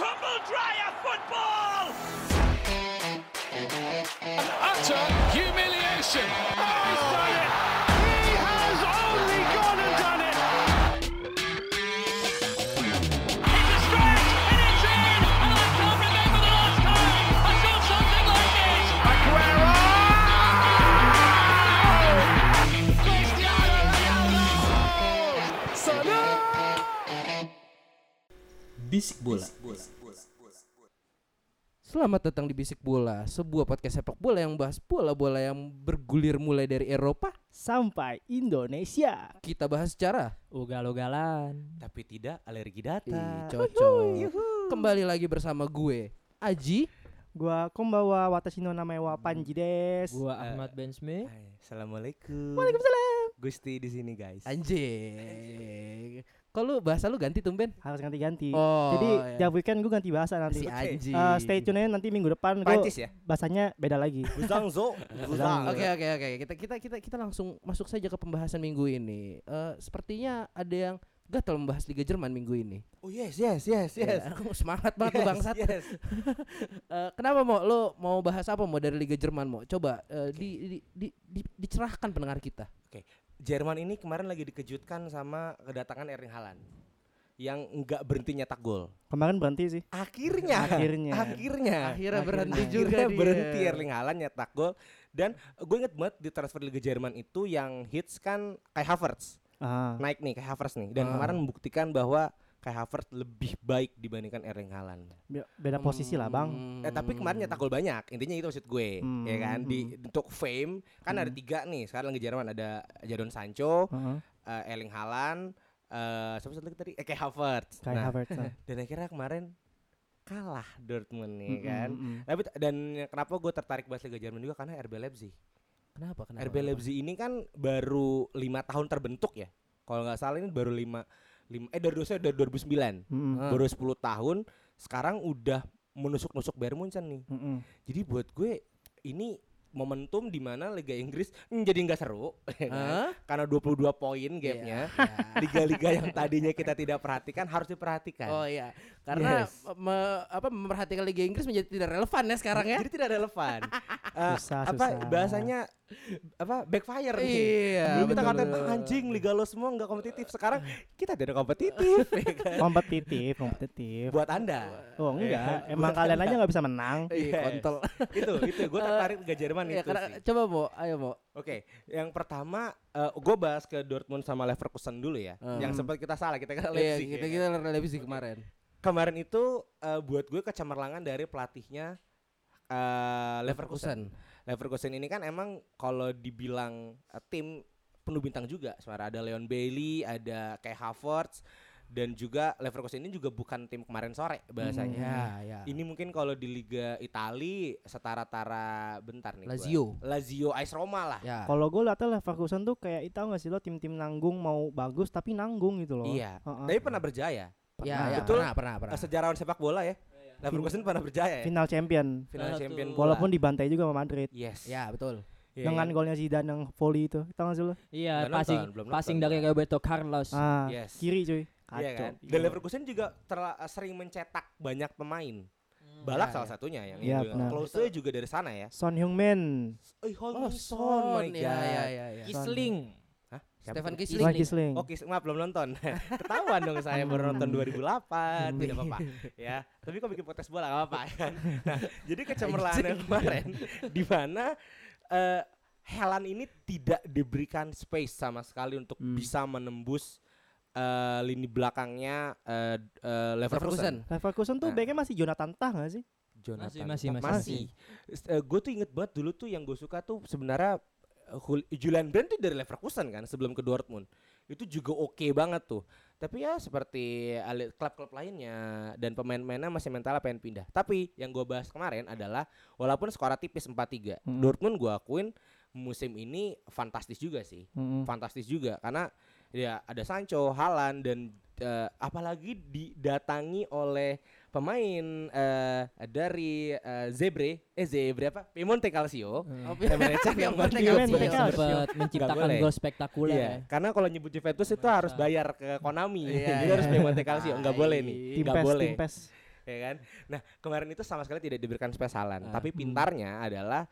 Dryer football! Utter humiliation. It's a stretch, and it's in! And I can't remember the last time I saw something like this! Bisik bola. Selamat datang di Bisik Bola, sebuah podcast sepak bola yang bahas bola-bola yang bergulir mulai dari Eropa. sampai Indonesia. Kita bahas secara ugal-ugalan. Tapi tidak alergi Ih, data. cocok. Kembali lagi bersama gue, Aji. Gua kumbawa watashi no namewa Panji Eh, desu. Gua Ahmad Ben Smith. Hai, Assalamualaikum. Waalaikumsalam. Gusti di sini guys. Anjing. Kalau bahasa lu ganti tumben. Harus ganti-ganti. Oh, Jadi iya. tiap weekend gua ganti bahasa Si nanti. Aji. Eh, stay tune aja nanti minggu depan gua Prancis ya? bahasanya beda lagi. Buzangzo. Buzang. Oke oke oke kita kita kita kita langsung masuk saja ke pembahasan minggu ini. Eh, sepertinya ada yang gatel membahas Liga Jerman minggu ini. Oh yes, yes, yes, yes. Ya, semangat banget lu Yes, bangsat. yes. Eh, kenapa mau lo mau bahas apa mau dari Liga Jerman mau? Coba eh, di, di, di, di- dicerahkan pendengar kita. Jerman ini kemarin lagi dikejutkan sama kedatangan Erling Haaland yang nggak berhenti nyetak gol. Kemarin berhenti sih. Akhirnya, Akhirnya. Ya, akhirnya, Akhirnya berhenti Akhirnya juga dia. berhenti ya, Erling Haaland nyetak gol. Dan gue inget banget di transfer Liga Jerman itu yang hits kan kayak Havertz Ah, naik nih kayak Havertz nih. Dan Ah. kemarin membuktikan bahwa kayak Havertz lebih baik dibandingkan Erling Haaland. be- beda posisi lah, Bang. Eh, tapi Hmm. kemarin nyetak gol banyak. Intinya itu maksud gue, ya kan? Di untuk fame kan ada tiga nih. Sekarang di Jerman ada Jadon Hmm. Sancho, Heeh. eh, Erling Haaland, eh siapa satu lagi tadi? Eh, Kai Havertz. Kai Nah, Havertz. nah. Dan akhirnya kemarin kalah Dortmund nih Iya Mm-mm, kan. mm-mm. Tapi t- dan yang kenapa gue tertarik bahas Liga Jerman juga karena RB Leipzig. Kenapa? Kenapa? RB Leipzig ini kan baru lima tahun terbentuk ya. Kalau nggak salah ini baru lima, lima eh dari dosa dari 2009. Mm-mm, Ah. Baru ya 10 tahun sekarang udah menusuk-nusuk Bayern Munchen nih. mm-mm. Jadi buat gue ini momentum di mana Liga Inggris mm, jadi nggak seru ya kan? Hah? Iya. karena 22 poin gapnya liga-liga yang tadinya kita tidak perhatikan harus diperhatikan Oh iya, Kan. karena Yes. me- apa memperhatikan Liga Inggris menjadi tidak relevan ya sekarang ya. jadi tidak relevan Eh, Susah, apa susah. bahasanya apa backfire nih Iya, Dulu kita betul, ngatain betul. "Ah, anjing liga lo semua nggak kompetitif sekarang kita tidak kompetitif Iya ya kan? Kompetitif, kompetitif. buat anda Oh enggak, emang kalian aja nggak bisa menang. Iya, Yes. kontol. itu itu gue Gitu, tertarik Liga Jerman Iya, itu karena sih. coba mau, ayo mau. Oke, yang pertama gue bahas ke Dortmund sama Leverkusen dulu ya. Hmm. Yang sempat kita salah kita kan Iya, Leipzig. ya kita kan? kita Leipzig kemarin. Kemarin itu eh, buat gue kecemerlangan dari pelatihnya eh, Leverkusen. Leverkusen. Leverkusen ini kan emang kalau dibilang eh, tim penuh bintang juga. Suara ada Leon Bailey, ada Kai Havertz dan juga Leverkusen ini juga bukan tim kemarin sore bahasanya. Ya, ya. Ini mungkin kalau di Liga Itali setara-tara bentar nih. gua. Lazio. Lazio AS Roma lah. Ya. Kalau gue liatnya Leverkusen tuh kayak itu nggak sih lo tim-tim nanggung mau bagus tapi nanggung gitu loh. Iya. Heeh. Tapi pernah berjaya. ya, pernah. ya, Betul. pernah, pernah, pernah. Eh, Sejarawan sepak bola ya. Leverkusen pernah Iya. berjaya ya. Final champion. Final Pernah champion tuh. bola. Walaupun dibantai juga sama Madrid. yes. Ya, betul. Iya, dengan iya. golnya Zidane yang volley itu tau gak sih lo Nggak Iya, nonton, passing belum passing nonton dari gua. Roberto Carlos. ah Yes. kiri cuy kacau Iya kan? Dan Leverkusen juga terla- eh, sering mencetak banyak pemain. Hmm. Balak Ya, salah ya. satunya yang Iya, itu. benar. Klose juga dari sana ya. Son Heung-min Eh, Oh, Hojson, Son. my Ya, God. ya, ya, ya. Isling. Hah? Siapa Stefan tuh? Kisling. Van Gisling Oke, maaf belum nonton. Ketahuan dong saya baru nonton 2008, tidak apa-apa ya. Tapi kok bikin podcast bola gak apa-apa. ya. Nah, jadi kecemerlangan yang kemarin di mana eh, Helan ini tidak diberikan space sama sekali untuk bisa menembus eh, lini belakangnya eh, eh, Leverkusen. Leverkusen. Leverkusen tuh Nah. backnya masih Jonathan Tah gak sih Jonathan. Masih, masih, Tah- masih. gue tuh inget banget dulu tuh yang gue suka tuh sebenarnya eh, Jul- Julian Brand tuh dari Leverkusen kan sebelum ke Dortmund. Itu juga oke banget tuh. Tapi ya seperti ali- klub-klub lainnya dan pemain-pemainnya masih mentalnya pengen pindah. Tapi yang gue bahas kemarin adalah walaupun skora tipis 4-3, Mm. Dortmund gue akuin musim ini fantastis juga sih. Mm-mm. Fantastis juga karena ya ada Sancho, Haaland dan eh, apalagi didatangi oleh pemain eh, dari eh, Zebre, eh Zebre apa? Piemonte Calcio. Eh. Yang meleceh, yang penting Yang yang penting mereka harus- Sempat menciptakan boleh. gol spektakuler. ya. Iya, karena kalau nyebut Juventus itu harus bayar ke Konami. Iya, Jadi iya. Iya, harus Piemonte Calcio, nggak boleh nih. tim Nggak pes boleh. tim pes ya kan? Nah, kemarin itu sama sekali tidak diberikan spesalan, Ah. tapi pintarnya adalah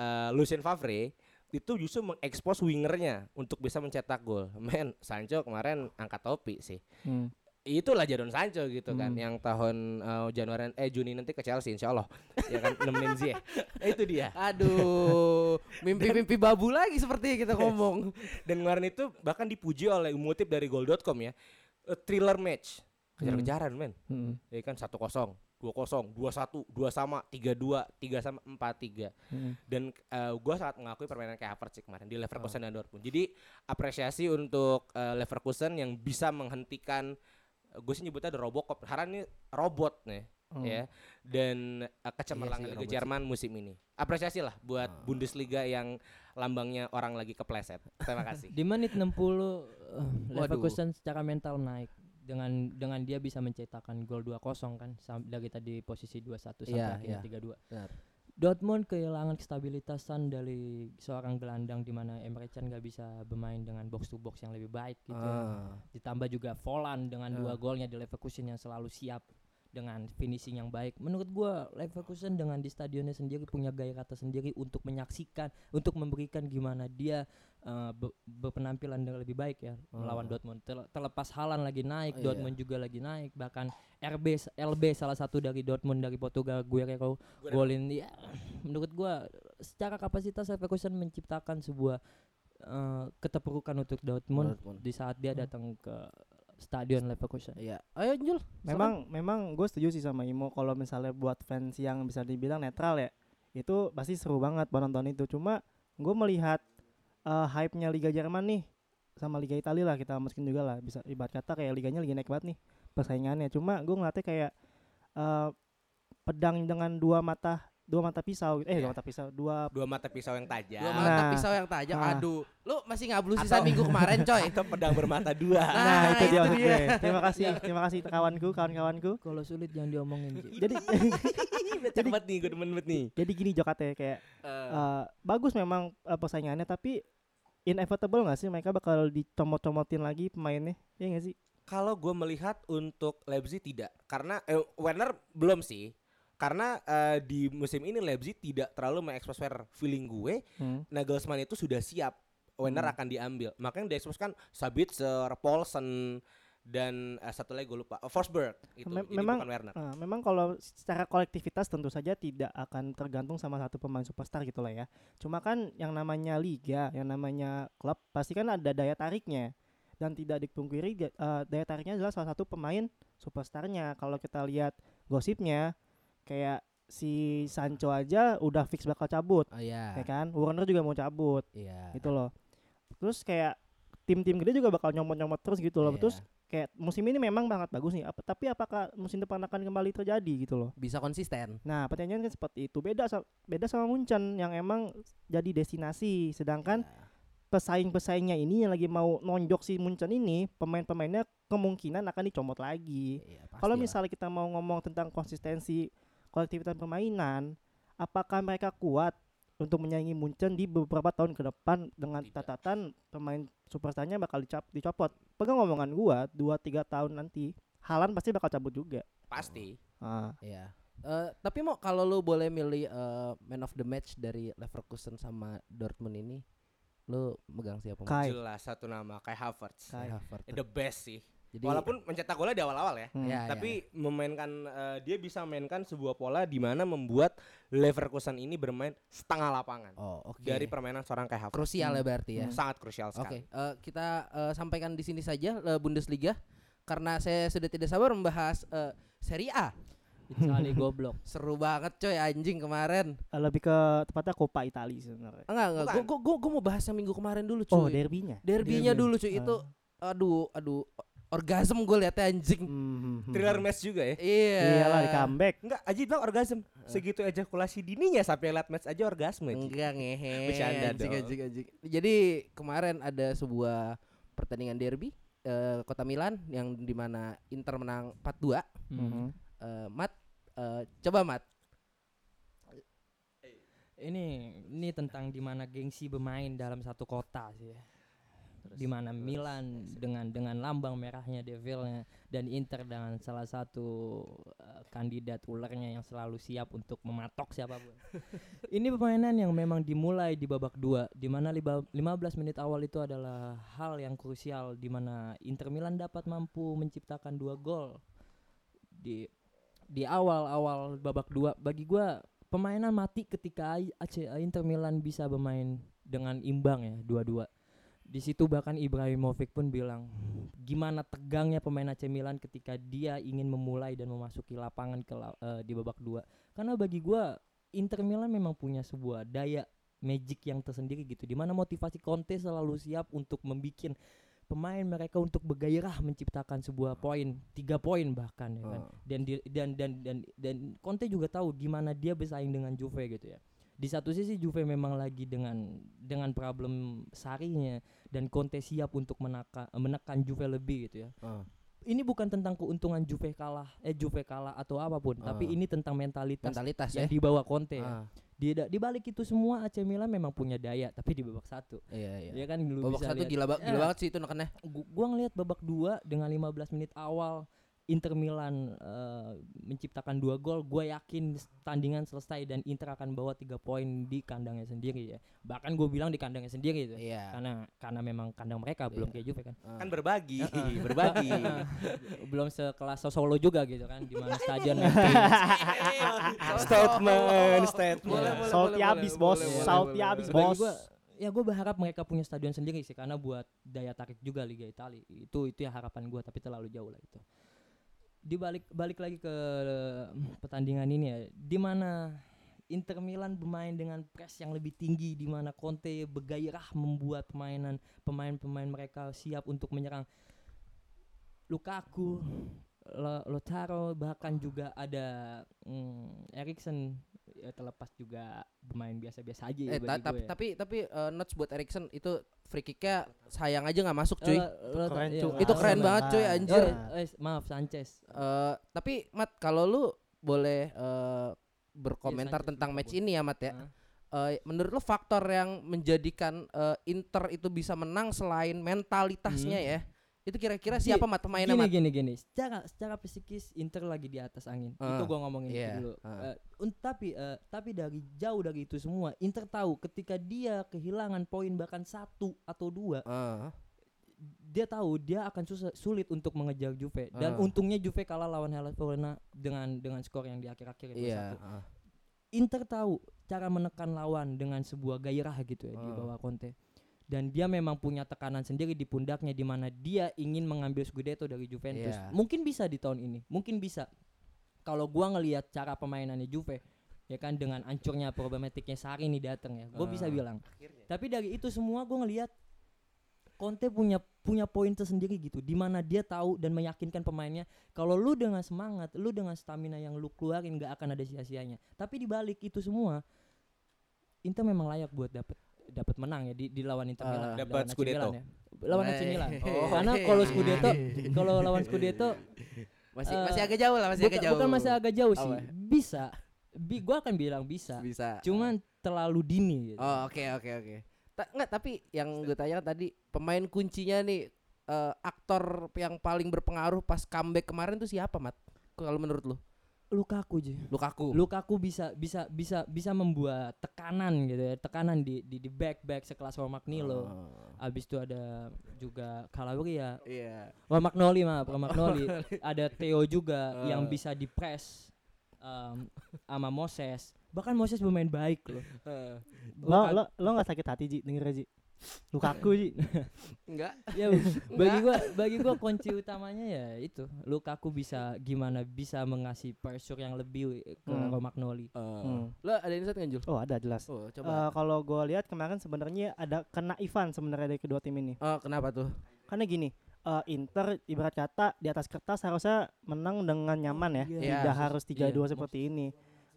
eh, Lucien Favre itu justru mengekspos wingernya untuk bisa mencetak gol. Men, Sancho kemarin angkat topi sih. Hmm. Itulah Jadon Sancho gitu kan Hmm. yang tahun eh, Januari eh Juni nanti ke Chelsea insya Allah ya kan nemenin Ziyech. Eh, Itu dia. Aduh, mimpi-mimpi babu lagi seperti kita ngomong. Dan kemarin itu bahkan dipuji oleh mengutip dari goal.com ya. A thriller match. Kejar-kejaran men. Hmm. Ya kan 1-0, 2-0, 2-1, 2 sama, 3-2, 3 sama, 4-3. Hmm. Dan gue sangat mengakui permainan kayak Havertz sih kemarin di Oh. Leverkusen dan Dortmund. Jadi apresiasi untuk eh, Leverkusen yang bisa menghentikan gue sih nyebutnya ada Robocop. Haran ini robot nih Hmm. ya. Dan eh, kecemerlangan Oh. Iya sih, Liga Ah. robot sih. Jerman musim ini. Apresiasi lah buat Bundesliga yang lambangnya orang lagi kepleset. Terima kasih. Di menit 60 eh, Waduh. Leverkusen secara mental naik dengan dengan dia bisa mencetakkan gol 2-0 kan sam- lagi tadi posisi 2-1 sampai Iya, akhirnya iya. 3-2. Benar. Dortmund kehilangan kestabilitasan dari seorang gelandang di mana Emre Can gak bisa bermain dengan box to box yang lebih baik gitu. Ah, ya. Ditambah juga Volan dengan dua golnya di Leverkusen yang selalu siap dengan finishing yang baik. Menurut gua Leverkusen dengan di stadionnya sendiri punya gaya kata sendiri untuk menyaksikan, untuk memberikan gimana dia eh, be- berpenampilan dengan lebih baik ya melawan Dortmund. Tel- terlepas Halan lagi naik, Iya. Dortmund juga lagi naik, bahkan RB s- LB salah satu dari Dortmund dari Portugal Guerrero golin ya menurut gua secara kapasitas Leverkusen menciptakan sebuah eh, keterpurukan untuk Dortmund di saat dia datang ke stadion Leverkusen. Iya. Ayo Jul. Memang memang gue setuju sih sama Imo kalau misalnya buat fans yang bisa dibilang netral ya itu pasti seru banget buat nonton itu. Cuma gue melihat eh, hype-nya Liga Jerman nih sama Liga Italia lah kita masukin juga lah bisa ibarat kata kayak liganya lagi naik banget nih persaingannya. Cuma gue ngeliatnya kayak eh, pedang dengan dua mata dua mata pisau eh dua mata pisau dua Dua mata pisau yang tajam. Dua mata Nah. pisau yang tajam. Ah. Aduh, lu masih ngablu sisa minggu kemarin, coy. Atau pedang bermata dua. nah, itu, dia, Ya. dia. maksud gue. Terima kasih, terima kasih kawanku, kawan-kawanku. Kalau sulit jangan diomongin. Ji. Gitu. Jadi Cakep banget nih, gue demen banget nih. jadi gini Jokate kayak eh, bagus memang eh, persaingannya tapi inevitable nggak sih mereka bakal dicomot-comotin lagi pemainnya? Iya nggak sih? Kalau gue melihat untuk Leipzig tidak, karena eh, Werner belum sih. Karena eh, di musim ini Leipzig tidak terlalu mengekspos Werner. Feeling gue, Hmm. Nagelsmann itu sudah siap. Werner akan diambil. Makanya yang diekspos kan Sabitzer, Paulsen, dan eh, satu lagi gue lupa, eh, Forsberg. Itu. Mem- Jadi memang- bukan Werner. Eh, memang kalau secara kolektivitas tentu saja tidak akan tergantung sama satu pemain superstar gitu lah ya. Cuma kan yang namanya liga, yang namanya klub pasti kan ada daya tariknya dan tidak dipungkiri ga- eh, daya tariknya adalah salah satu pemain superstarnya. Kalau kita lihat gosipnya kayak si Sancho aja udah fix bakal cabut, Oh iya. ya kan? Warner juga mau cabut. Iya. gitu loh terus kayak tim-tim gede juga bakal nyomot-nyomot terus gitu loh Iya. terus kayak musim ini memang banget bagus nih apa tapi apakah musim depan akan kembali terjadi gitu loh Bisa konsisten. nah pertanyaan kan seperti itu beda sa- beda sama Munchen yang emang jadi destinasi sedangkan Iya. pesaing-pesaingnya ini yang lagi mau nonjok si Munchen ini pemain-pemainnya kemungkinan akan dicomot lagi Iya, kalau pastilah. misalnya kita mau ngomong tentang konsistensi kolektivitas permainan, apakah mereka kuat untuk menyaingi Munchen di beberapa tahun ke depan dengan Tidak. catatan pemain superstarnya bakal dicap dicopot. Pegang omongan gua, 2 3 tahun nanti Halan pasti bakal cabut juga. Pasti. Ah, Iya. Eh, tapi mau kalau lu boleh milih eh, man of the match dari Leverkusen sama Dortmund ini, lu megang siapa? Mas? Kai. Jelas satu nama, kayak Havertz. Kai. Havertz. The best sih. Jadi Walaupun mencetak golnya di awal-awal ya. Hmm. ya, ya, tapi memainkan eh, dia bisa mainkan sebuah pola di mana membuat Leverkusen ini bermain setengah lapangan ya. Oh, oke. dari permainan seorang kayak Havertz. Hmm, krusial ya berarti ya. Sangat krusial Oke, sekali. eh, kita eh, sampaikan di sini saja eh, Bundesliga karena saya sudah tidak sabar membahas eh, Serie A. Italia goblok. Seru banget coy anjing kemarin. Eh, Lebih ke tepatnya Coppa Italia sebenarnya. Enggak enggak, Bukan. gua, gua, gua, gua mau bahas yang minggu kemarin dulu cuy. Oh, derbynya. Derbynya Derby. Ah. dulu cuy itu aduh aduh orgasm gue liatnya anjing. Hmm, hmm, Thriller hmm. match juga ya. Iya. Iyalah di comeback. Enggak, Aji bilang orgasm. Segitu ejakulasi dininya sampai lihat match aja orgasme. Ji. Enggak ngehe. Bercanda anjing, dong. anjing, anjing. Jadi kemarin ada sebuah pertandingan derby eh, Kota Milan yang dimana Inter menang 4-2. Hmm. Mhm. Eh, mat eh, coba Mat. Ini ini tentang dimana gengsi bermain dalam satu kota sih. ya. Terus, di mana terus. eh, Milan dengan dengan lambang merahnya devilnya dan Inter dengan salah satu eh, kandidat ulernya yang selalu siap untuk mematok siapapun. Ini permainan yang memang dimulai di babak dua di mana liba- 15 menit awal itu adalah hal yang krusial di mana Inter Milan dapat mampu menciptakan dua gol di di awal-awal babak dua bagi gua pemainan mati ketika I- AC Inter Milan bisa bermain dengan imbang ya dua-dua di situ bahkan Ibrahimovic pun bilang gimana tegangnya pemain AC Milan ketika dia ingin memulai dan memasuki lapangan ke la- eh, di babak dua karena bagi gua Inter Milan memang punya sebuah daya magic yang tersendiri gitu dimana motivasi Conte selalu siap untuk membuat pemain mereka untuk bergairah menciptakan Ah. sebuah poin tiga poin bahkan ya kan dan di- dan dan dan dan Conte juga tahu gimana dia bersaing dengan Juve gitu ya. Di satu sisi Juve memang lagi dengan dengan problem sarinya dan Conte siap untuk menaka, menekan Juve lebih gitu ya. Ah. Ini bukan tentang keuntungan Juve kalah eh Juve kalah atau apapun, tapi Ah. ini tentang mentalitas, mentalitas ya. yang dibawa Conte ya. Ah, Di da- di balik itu semua AC Milan memang punya daya tapi di babak satu. iya iya. Ya kan lu Babak bisa satu lihat. gila, ba- gila Ya banget sih itu nekennya. gu- gua ngelihat babak 2 dengan 15 menit awal Inter Milan eh, menciptakan dua gol, gue yakin tandingan selesai dan Inter akan bawa tiga poin di kandangnya sendiri ya. Bahkan gue bilang di kandangnya sendiri itu, Iya. karena karena memang kandang mereka belum kayak Juve kan, kan berbagi, berbagi. belum sekelas Solo juga gitu kan, di mana stadion statement, statement. Boleh, boleh, Salty abis bos, boleh, salty abis Bagi bos. gua, ya gue berharap mereka punya stadion sendiri sih karena buat daya tarik juga Liga Italia. Itu itu ya harapan gue tapi terlalu jauh lah itu. Di balik balik lagi ke eh, pertandingan ini ya, di mana Inter Milan bermain dengan press yang lebih tinggi di mana Conte bergairah membuat permainan pemain-pemain mereka siap untuk menyerang Lukaku, Lo- Lautaro bahkan juga ada mm, Erikson ya terlepas juga bermain biasa-biasa aja ya Eh, ta- bagi tapi, gue ya. tapi tapi eh, notes buat Erikson itu free kicknya sayang aja nggak masuk cuy. Eh, lo- Keren iya, cuy. itu Lautaro. keren Lautaro. banget cuy Nah. anjir. Nah. Eh, eh, maaf Sanchez. Eh, tapi Mat kalau lu boleh eh, berkomentar Iya, Sanchez Ah. tentang lupa match gua. ini ya Mat ya. Hah? Eh, menurut lo faktor yang menjadikan eh, Inter itu bisa menang selain mentalitasnya Hmm. ya? Itu kira-kira Gi- siapa Mat pemainnya Gini Mat? gini gini. Secara secara psikis Inter lagi di atas angin. itu Ah, gua ngomongin itu iya, dulu. ah. Eh, un- tapi eh, tapi dari jauh dari itu semua Inter tahu ketika dia kehilangan poin bahkan satu atau dua Eh, dia tahu dia akan susah, sulit untuk mengejar Juve Ah. dan untungnya Juve kalah lawan Hellas Verona dengan dengan skor yang di akhir-akhir itu Iya. satu. eh. Inter tahu cara menekan lawan dengan sebuah gairah gitu ya di Ah. bawah Conte. Dan dia memang punya tekanan sendiri di pundaknya di mana dia ingin mengambil Scudetto dari Juventus. Iya. Mungkin bisa di tahun ini, mungkin bisa. Kalau gua ngelihat cara permainannya Juve ya kan dengan ancurnya problematiknya Sari nih datang ya. Gua bisa Ah. bilang. Tapi dari itu semua gua ngelihat Conte punya punya poin tersendiri gitu di mana dia tahu dan meyakinkan pemainnya kalau lu dengan semangat, lu dengan stamina yang lu keluarin gak akan ada sia-sianya. Tapi di balik itu semua Inter memang layak buat dapat dapat menang ya di, di lawan Inter Eh, Milan, dapat lawan AC Scudetto. Milan ya. Lawan AC Wey. Milan. Oh, Karena oke. Nah, kalau Scudetto, kalau lawan Scudetto masih Eh, masih agak jauh lah, masih bukan, agak jauh. bukan masih agak jauh sih. Apa? Bisa. Bi, gua akan bilang bisa. bisa. Cuman terlalu dini gitu. Oh oke oke oke. Ta- Nggak tapi yang gue tanya tadi pemain kuncinya nih eh, aktor yang paling berpengaruh pas comeback kemarin tuh siapa mat? Kalau menurut lu? Lukaku aja. Lukaku. Lukaku bisa bisa bisa bisa membuat tekanan gitu ya, tekanan di di, di back back sekelas Romagnolo. Oh, Abis itu ada juga Calabria, Iya. Romagnoli maaf, Romagnoli. ada Theo juga Eh. yang bisa di press um, sama Moses. Bahkan Moses bermain baik loh. Lo Bukan- lo lo nggak sakit hati Ji denger Ji. Lukaku Ji. Enggak. Ya, bagi gua bagi gua kunci utamanya ya itu. Lukaku bisa gimana bisa mengasih pressure yang lebih ke Hmm. Romagnoli. Hmm. Lo ada insight nggak Jul? Oh ada jelas. Oh Eh, coba. kalau gue lihat kemarin sebenarnya ada kena Ivan sebenarnya dari kedua tim ini. Oh, kenapa tuh? Karena gini, eh, Inter ibarat kata di atas kertas harusnya menang dengan nyaman ya, Iya. tidak Iya. harus 3-2 seperti ini.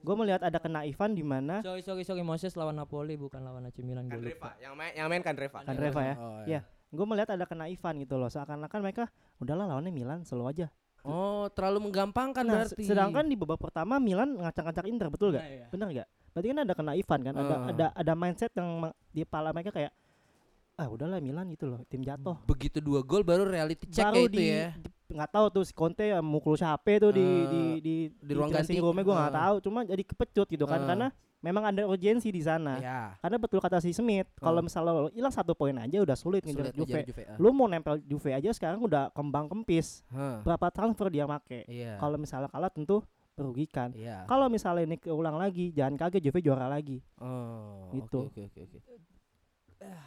Gue melihat ada kena Ivan di mana Sorry sorry sorry Moses lawan Napoli bukan lawan AC Milan gua lupa. Kan yang main yang main kan Reva. Kandreva ya. Oh, Iya. Gue melihat ada kena Ivan gitu loh. Seakan-akan mereka udahlah lawannya Milan slow aja. Oh, terlalu menggampangkan Nah, se- berarti. sedangkan di babak pertama Milan ngacak-ngacak Inter betul gak? Nah, iya. Bener gak? Berarti kan ada kena Ivan kan? Ada Ah. ada ada mindset yang ma- di kepala mereka kayak ah udahlah Milan gitu loh tim jatuh Begitu dua gol baru reality check ya baru itu di ya. nggak tahu tuh si Conte ya mukul siapa tuh di Eh, di di di ruang ganti. dressing roomnya gue nggak Eh. tahu cuma jadi kepecut gitu kan Eh. karena memang ada urgensi di sana Ya. karena betul kata si Smith Eh. kalau misalnya lo hilang satu poin aja udah sulit Sulit ngejar ngejar Juve Juve. ah. lu mau nempel Juve aja sekarang udah kembang kempis Hah. berapa transfer dia make Eh. Iya. kalau misalnya kalah tentu merugikan Iya. kalau misalnya ini keulang lagi jangan kaget Juve juara lagi Oh, Gitu. Oke, oke, oke, oke.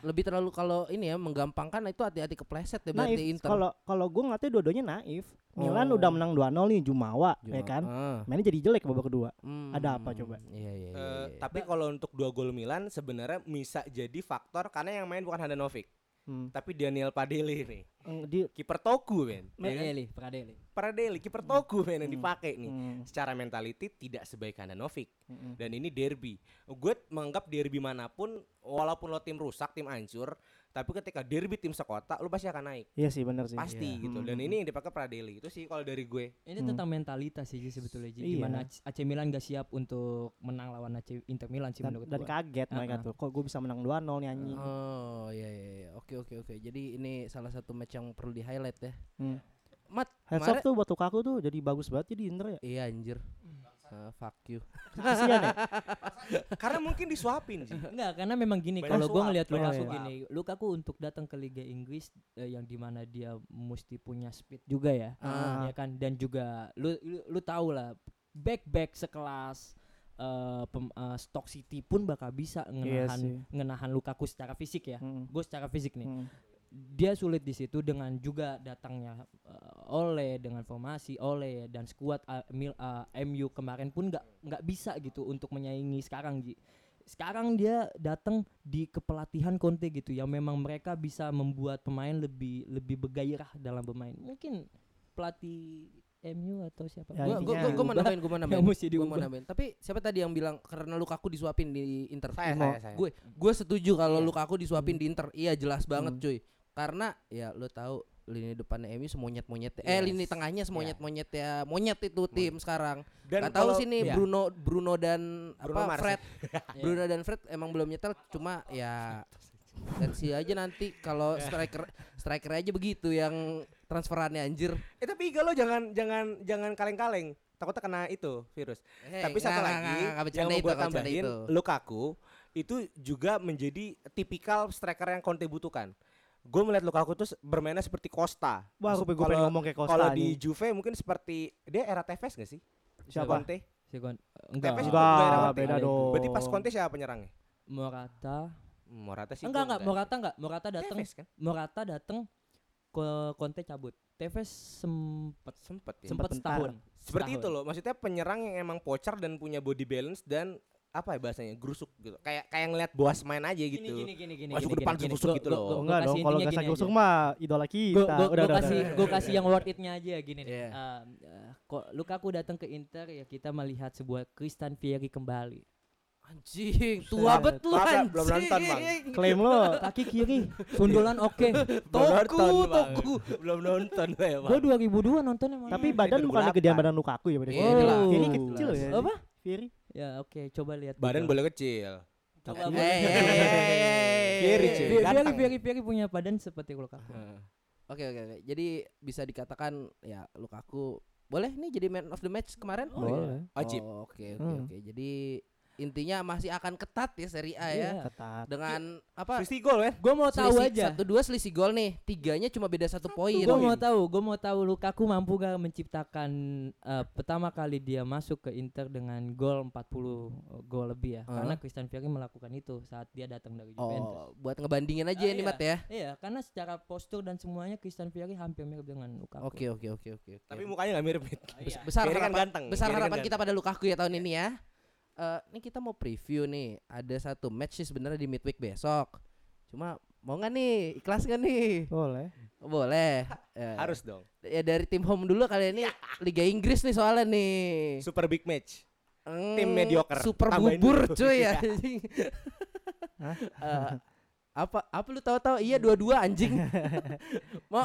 Lebih terlalu kalau ini ya menggampangkan itu hati-hati kepleset ya berarti naif Inter. kalau kalau gue ngatain dua-duanya naif Milan Oh. udah menang 2-0 nih Jumawa, ya Jumawa. kan Ah. mainnya jadi jelek babak kedua Hmm. Ada apa coba? Iya, iya, iya. Eh, iya. tapi kalau untuk dua gol Milan sebenarnya bisa jadi faktor karena yang main bukan Handanovic Hmm. tapi Daniel Padeli nih Mm, di kiper Toku men ya Iya kan? Pradeli, Pradeli. Pradeli kiper Toku men yang Hmm. dipakai nih mm, secara mentality tidak sebaik Handanovic mm, mm. dan ini derby gue menganggap derby manapun walaupun lo tim rusak tim hancur tapi ketika derby tim sekota lo pasti akan naik Iya sih bener sih. pasti Iya. gitu dan Mm. ini yang dipakai Pradeli itu sih kalau dari gue Ini Hmm. tentang mentalitas sih Ji, sebetulnya Ji. Iya. Gimana AC AC Milan gak siap untuk menang lawan AC Inter Milan sih dan, menurut dan gua. kaget mereka Ah, ah. tuh. Kok gue bisa menang 2-0 nih anjing. Oh, iya, iya, iya. Oke, oke, oke. Jadi ini salah satu match yang perlu di-highlight ya. Hmm. Mat, Heads off tuh buat Lukaku tuh jadi bagus banget jadi Inter ya. Iya anjir. Ah, fuck you. Kasihan ya. karena mungkin disuapin sih Enggak, karena memang gini Banyak kalau gue suap, ngelihat banyak Lukaku suap. gini, Lukaku untuk datang ke Liga Inggris eh, yang dimana dia mesti punya speed juga ya. Ah. Ya kan dan juga lu lu, lu tahu lah back-back sekelas eh, pem- eh, Stock City pun bakal bisa Iya ngenahan sih. ngenahan Lukaku secara fisik ya. Mm, Gue secara fisik nih. mm. dia sulit di situ dengan juga datangnya eh, oleh dengan formasi oleh dan skuad eh, Mil- eh, MU kemarin pun nggak nggak bisa gitu untuk menyaingi sekarang Ji. Sekarang dia datang di kepelatihan Conte gitu yang memang mereka bisa membuat pemain lebih lebih bergairah dalam bermain. Mungkin pelatih MU atau siapa? Gua Ya, gua gua, intinya- gua mau Diubah. nambahin, gua mau nambahin. mesti Gua mau diubah. nambahin. Tapi siapa tadi yang bilang karena Lukaku disuapin di Inter? saya saya saya Gue gue setuju kalau Iya. Lukaku Hmm. disuapin di Inter. Iya jelas banget Hmm. cuy. Karena ya lo tahu lini depannya MU semonyet-monyet. Eh Yes. lini tengahnya semonyet-monyet ya. Monyet itu tim sekarang. dan Gak tahu kalau- sih nih Iya. Bruno Bruno dan Bruno apa Mars. Fred. Iya. Bruno dan Fred emang belum nyetel cuma ya tensi aja nanti kalau striker striker aja begitu yang transferannya anjir. Eh tapi Iga lo jangan jangan jangan kaleng-kaleng. Takutnya kena itu virus. Eh, tapi satu lagi yang mau gue tambahin, Lukaku itu juga menjadi tipikal striker yang Conte butuhkan. Gue melihat Lukaku itu se- bermainnya seperti Costa. Wah, gue pengen Kalau- ngomong kayak Costa Kalau anjing. di Juve mungkin seperti dia era Tevez gak sih? Siapa? Conte. Si Gon- Eh, enggak. Tevez juga Enggak, era Conte. beda Ada itu. dong. Berarti pas Conte siapa penyerangnya? Morata. Hmm, Morata sih. Enggak gua enggak Morata enggak. Morata datang Tevez kan? Morata datang ke Conte cabut. Tevez sempet Sempet ya. Sempet sempet bentar. setahun. Seperti Setahun. itu loh. Maksudnya penyerang yang emang pocar dan punya body balance dan apa ya bahasanya gerusuk gitu. Kayak kayak ngeliat boas main aja gitu. Gini gini gini gini. Masuk ke gini, depan, gini, gini. susuk Gua- gitu gua- loh. gua- Oh, gua enggak dong kasih kalau intinya nggak gini sakit aja. mah idola Gua- kita. gua- Udah gua udah. kasih udah. gua kasih yang worth it-nya aja gini nih. Iya. Eh, eh, kok Lukaku datang ke Inter ya kita melihat sebuah Christian Vieri kembali. Anjing, tua Buset. bet lu Maaf ya, anjing. belum nonton, Bang. Klaim lo. Kaki kiri, sundulan oke. Toku, nonton, Bang. toku. belum nonton gue ya, Gua 2002 nonton emang. Tapi badan bukan gedean badan Lukaku ya badan. Iya, Lukaku. jelas. Ini kecil ya. apa? Fieri. Ya oke, coba lihat. Badan Google. boleh kecil. Coba Eh, Google. eh, eh, eh, eh. Kiri, cuy. Vieri, Vieri, Ganteng. Vieri, Vieri punya badan seperti Lukaku. Oke oke oke. Jadi bisa dikatakan ya Lukaku boleh nih jadi man of the match kemarin? Oh, iya. Boleh. Wajib. Oh, Oke oke Hmm. oke. Jadi intinya masih akan ketat ya Serie A ya Iya. Ketat. dengan Oh. apa? Selisih gol kan? Gua mau tahu selisih- aja. Satu dua selisih gol nih. Tiganya cuma beda satu poin. Gue mau tahu, gue mau tahu Lukaku mampu gak menciptakan eh, pertama kali dia masuk ke Inter dengan gol 40 gol lebih ya. Hah? Karena Christian Vieri melakukan itu saat dia datang dari Oh, Juventus. buat ngebandingin aja Ah, ini iya. Mat ya. Iya, karena secara postur dan semuanya Christian Vieri hampir mirip dengan Lukaku. Oke oke oke oke. oke. Tapi mukanya nggak mirip. Mit. Bes- besar Kiri kan harapan, ganteng. besar kiri kan harapan ganteng. kita pada Lukaku ya Iya. tahun ini ya. Eh, ini kita mau preview nih. Ada satu match sih sebenarnya di midweek besok. Cuma mau nggak nih? Ikhlas nggak nih? Boleh. Boleh. Eh, harus dong. ya dari tim home dulu Iya. kali ya, ini Liga Inggris nih soalnya nih. Super big match. Mm, tim mediocre. Super Tambahin bubur dulu. cuy Iya. ya. anjing. Hah? Eh, apa apa lu tahu-tahu Hmm. iya dua-dua anjing. Mau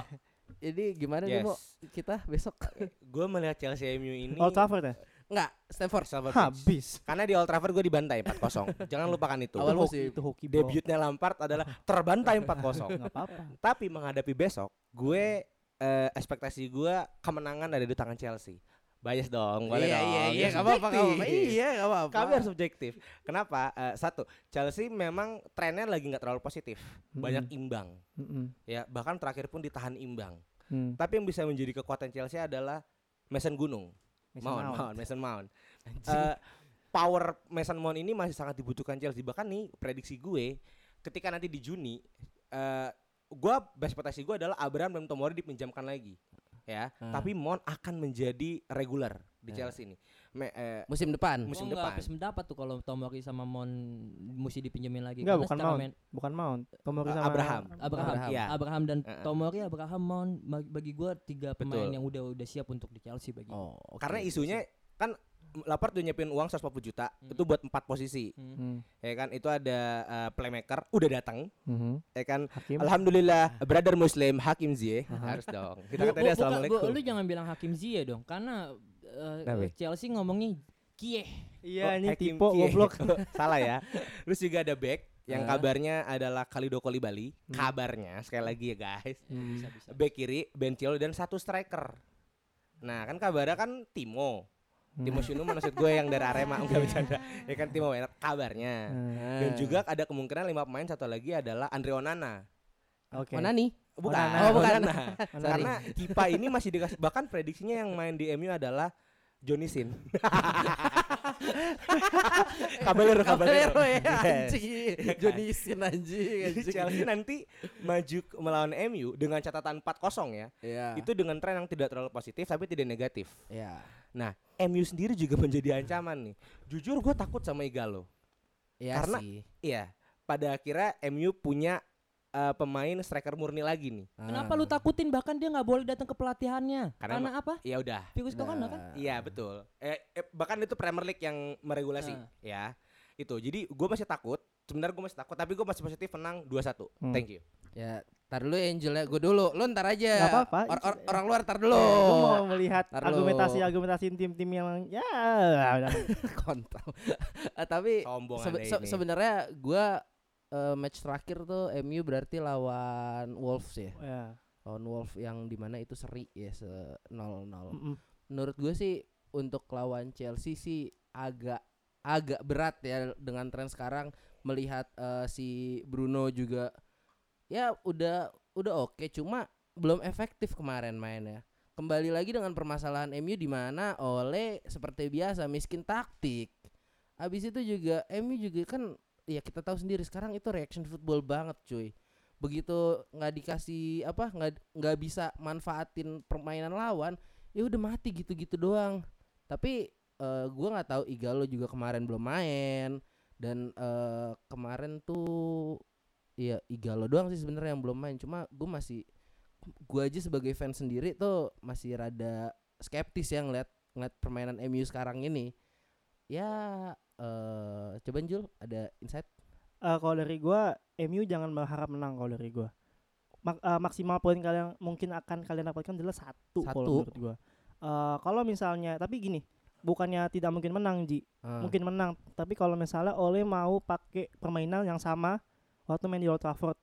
jadi gimana nih mau Yes. kita besok? Gue melihat Chelsea MU ini Old Trafford ya? Enggak, Stanford. Stamford Bridge. Habis. Karena di Old Trafford gue dibantai 4-0. Jangan lupakan itu. Awal Itu musim. hoki- Itu hoki bro. Debutnya Lampard adalah terbantai 4-0. Nggak apa-apa. Tapi menghadapi besok, gue eh, ekspektasi gue kemenangan ada di tangan Chelsea. Bias dong, boleh Iya, dong. iya, Ya, iya, nggak apa-apa, nggak apa-apa. subjektif. Iya, nggak apa-apa. Kami harus subjektif. Kenapa? Eh, satu, Chelsea memang trennya lagi nggak terlalu positif. Hmm. Banyak imbang. Mm-mm. Ya, bahkan terakhir pun ditahan imbang. Mm. Tapi yang bisa menjadi kekuatan Chelsea adalah Mason Gunung. Mason Mount, Mount. Mount, Mason Mount. Eh, power Mason Mount ini masih sangat dibutuhkan Chelsea. Bahkan nih prediksi gue ketika nanti di Juni eh gua ekspektasi gue adalah Abraham dan Tomori dipinjamkan lagi. Ya, Hmm. tapi Mount akan menjadi reguler di Ya. Chelsea ini. Me- eh, musim depan. musim Gua nggak depan. habis mendapat tuh kalau Tomori sama Mon mesti dipinjemin lagi. Nggak, Karena bukan secara Mount. men- Bukan Mount. Tomori Eh, sama Abraham. Abraham, Abraham. Abraham, Iya. dan Heeh. Tomori, Abraham, Mount bagi, bagi gue tiga pemain Betul. yang udah udah siap untuk di Chelsea bagi. gua. Oh, oke. Karena isunya kan Lampard udah nyiapin uang 140 juta Hmm. itu buat empat posisi Hmm. Hmm. ya kan itu ada eh, playmaker udah datang Mhm. ya kan Hakim. Alhamdulillah brother muslim Hakim Zie harus dong kita Bu- kan tadi bu- buka- assalamualaikum bu- lu jangan bilang Hakim Ziyech dong, karena eh, Kenapa? Chelsea ngomongnya Kieh. Iya, Ya, Oh, ini Hakim tipe Kie. goblok. salah ya terus juga ada back yang Ah. kabarnya adalah Kalidou Bali Hmm. kabarnya sekali lagi ya guys Bisa bisa. back kiri Benciolo dan satu striker nah kan kabarnya kan Timo Hmm. Timo Sunu maksud gue yang dari Arema Iya. enggak bercanda ya kan Timo Werner kabarnya Nah, Hmm. Eh. dan juga ada kemungkinan lima pemain satu lagi adalah Andre Onana Oke. Mana nih? bukan Onana. Oh, bukan. Onana. Mana Sorry. karena Kipa ini masih dikasih bahkan prediksinya yang main di MU adalah Johnny Sin. Caballero, Caballero. Caballero ya Eh, Yes. anjing. Johnny Sin anjing. Jadi anjing. Chelsea nanti maju ke- melawan MU dengan catatan 4-0 ya. Iya. Itu dengan tren yang tidak terlalu positif tapi tidak negatif. Iya. MU sendiri juga menjadi ancaman nih. Jujur gue takut sama Igalo. Iya Karena- sih. Iya. Pada akhirnya MU punya eh, pemain striker murni lagi nih. Ah. Kenapa lu takutin bahkan dia nggak boleh datang ke pelatihannya? Karena Karena, apa? Ya udah. nah. Virus corona kan? Iya betul. Eh, eh, bahkan itu Premier League yang meregulasi, Ah. ya. Itu. Jadi gue masih takut. Sebenarnya gue masih takut, tapi gue masih positif menang 2-1. Hmm. Thank you. Ya, tar dulu Angel ya, gue dulu. Lu ntar aja. Nggak apa-apa. ya. Eh, Or- or- orang luar tar Lu dulu. mau melihat Ntar lu. argumentasi-argumentasi tim-tim yang ya udah. Kontol. Eh, tapi Sombong sebe- Anda se- ini. sebenarnya gua eh, match terakhir tuh MU berarti lawan Wolves ya. Ya. Lawan Wolves yang dimana itu seri ya se 0-0. Mm-mm. menurut gue sih untuk lawan Chelsea sih agak agak berat ya dengan tren sekarang melihat eh, si Bruno juga ya udah udah oke cuma belum efektif kemarin mainnya kembali lagi dengan permasalahan MU di mana oleh seperti biasa miskin taktik habis itu juga MU juga kan ya kita tahu sendiri sekarang itu reaction football banget cuy begitu nggak dikasih apa nggak nggak bisa manfaatin permainan lawan ya udah mati gitu-gitu doang tapi eh, gua nggak tahu Igalo juga kemarin belum main dan eh, kemarin tuh ya Igalo doang sih sebenarnya yang belum main cuma gue masih gua aja sebagai fans sendiri tuh masih rada skeptis ya ngeliat ngeliat permainan MU sekarang ini ya eh coba Jul ada insight Eh, kalau dari gua MU jangan berharap menang kalau dari gua. Mak- eh, maksimal poin kalian mungkin akan kalian dapatkan adalah Satu. satu, kalau menurut gua. Eh, kalau misalnya tapi gini, bukannya tidak mungkin menang Ji, Ah, mungkin menang, tapi kalau misalnya Oleh mau pakai permainan yang sama waktu main di Old Trafford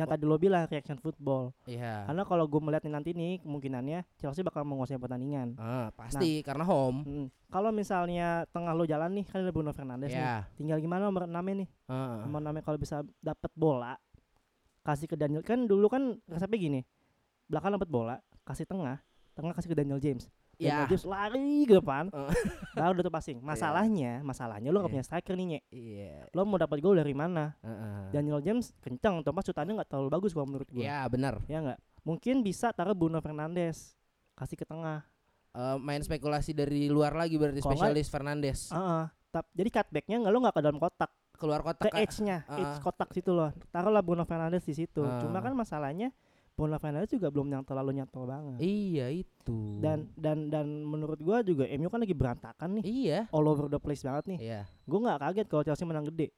yang tadi lo bilang reaction football. iya Karena kalau gue melihat nih nanti nih kemungkinannya Chelsea bakal menguasai pertandingan. Ah, pasti karena home Mm. Kalau misalnya tengah lo jalan nih kan ada Bruno Fernandes nih. ya Tinggal gimana nomor 6 nih? ah. Nomor 6 kalau bisa dapat bola kasih ke Daniel kan dulu kan resepnya gini. Belakang dapat bola, kasih tengah, tengah kasih ke Daniel James. ya Daniel James lari ke depan. Eh. baru udah tuh passing. Masalahnya, masalahnya lo nggak Iya. punya striker nih, Nye. iya Lo mau dapat gol dari mana? ah, ah. Daniel James kencang, Thomas cutannya nggak terlalu bagus kalau menurut gue. ya benar Ya nggak? Mungkin bisa taruh Bruno Fernandes kasih ke tengah. Eh, main spekulasi dari luar lagi berarti Kalau Ah, spesialis Fernandes Heeh. Tap- jadi cutbacknya nggak lo nggak ke dalam kotak, keluar ke kotak Kak. edge-nya, ah, edge ah. kotak situ loh. Taruhlah Bruno Fernandes di situ. Ah. Cuma kan masalahnya Bruno Fernandes juga belum yang terlalu nyantol banget. iya itu Dan dan dan menurut gua juga MU kan lagi berantakan nih. iya All over the place banget nih. iya Gua nggak kaget kalau Chelsea menang gede.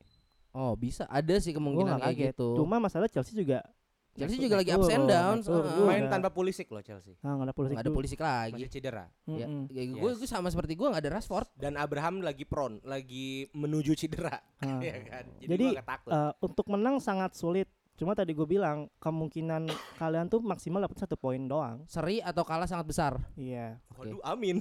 oh bisa ada sih Gua kemungkinan nggak kayak kaget. gitu Cuma masalah Chelsea juga Chelsea Naik juga lagi turun, ups and naik downs. turun. heeh. Main Udah. tanpa Pulisic loh Chelsea. Ah, nggak ada polisi. Nggak ada polisi lagi. Masih cedera. Ya, Mm-mm. ya gue Yes. gue sama seperti gue nggak ada Rashford. Dan Abraham lagi prone, lagi menuju cedera. Ah. Iya kan? Jadi, Jadi, gua agak takut. Eh, untuk menang sangat sulit. Cuma tadi gue bilang kemungkinan kalian tuh maksimal dapat satu poin doang. Seri atau kalah sangat besar. Iya. Waduh, amin.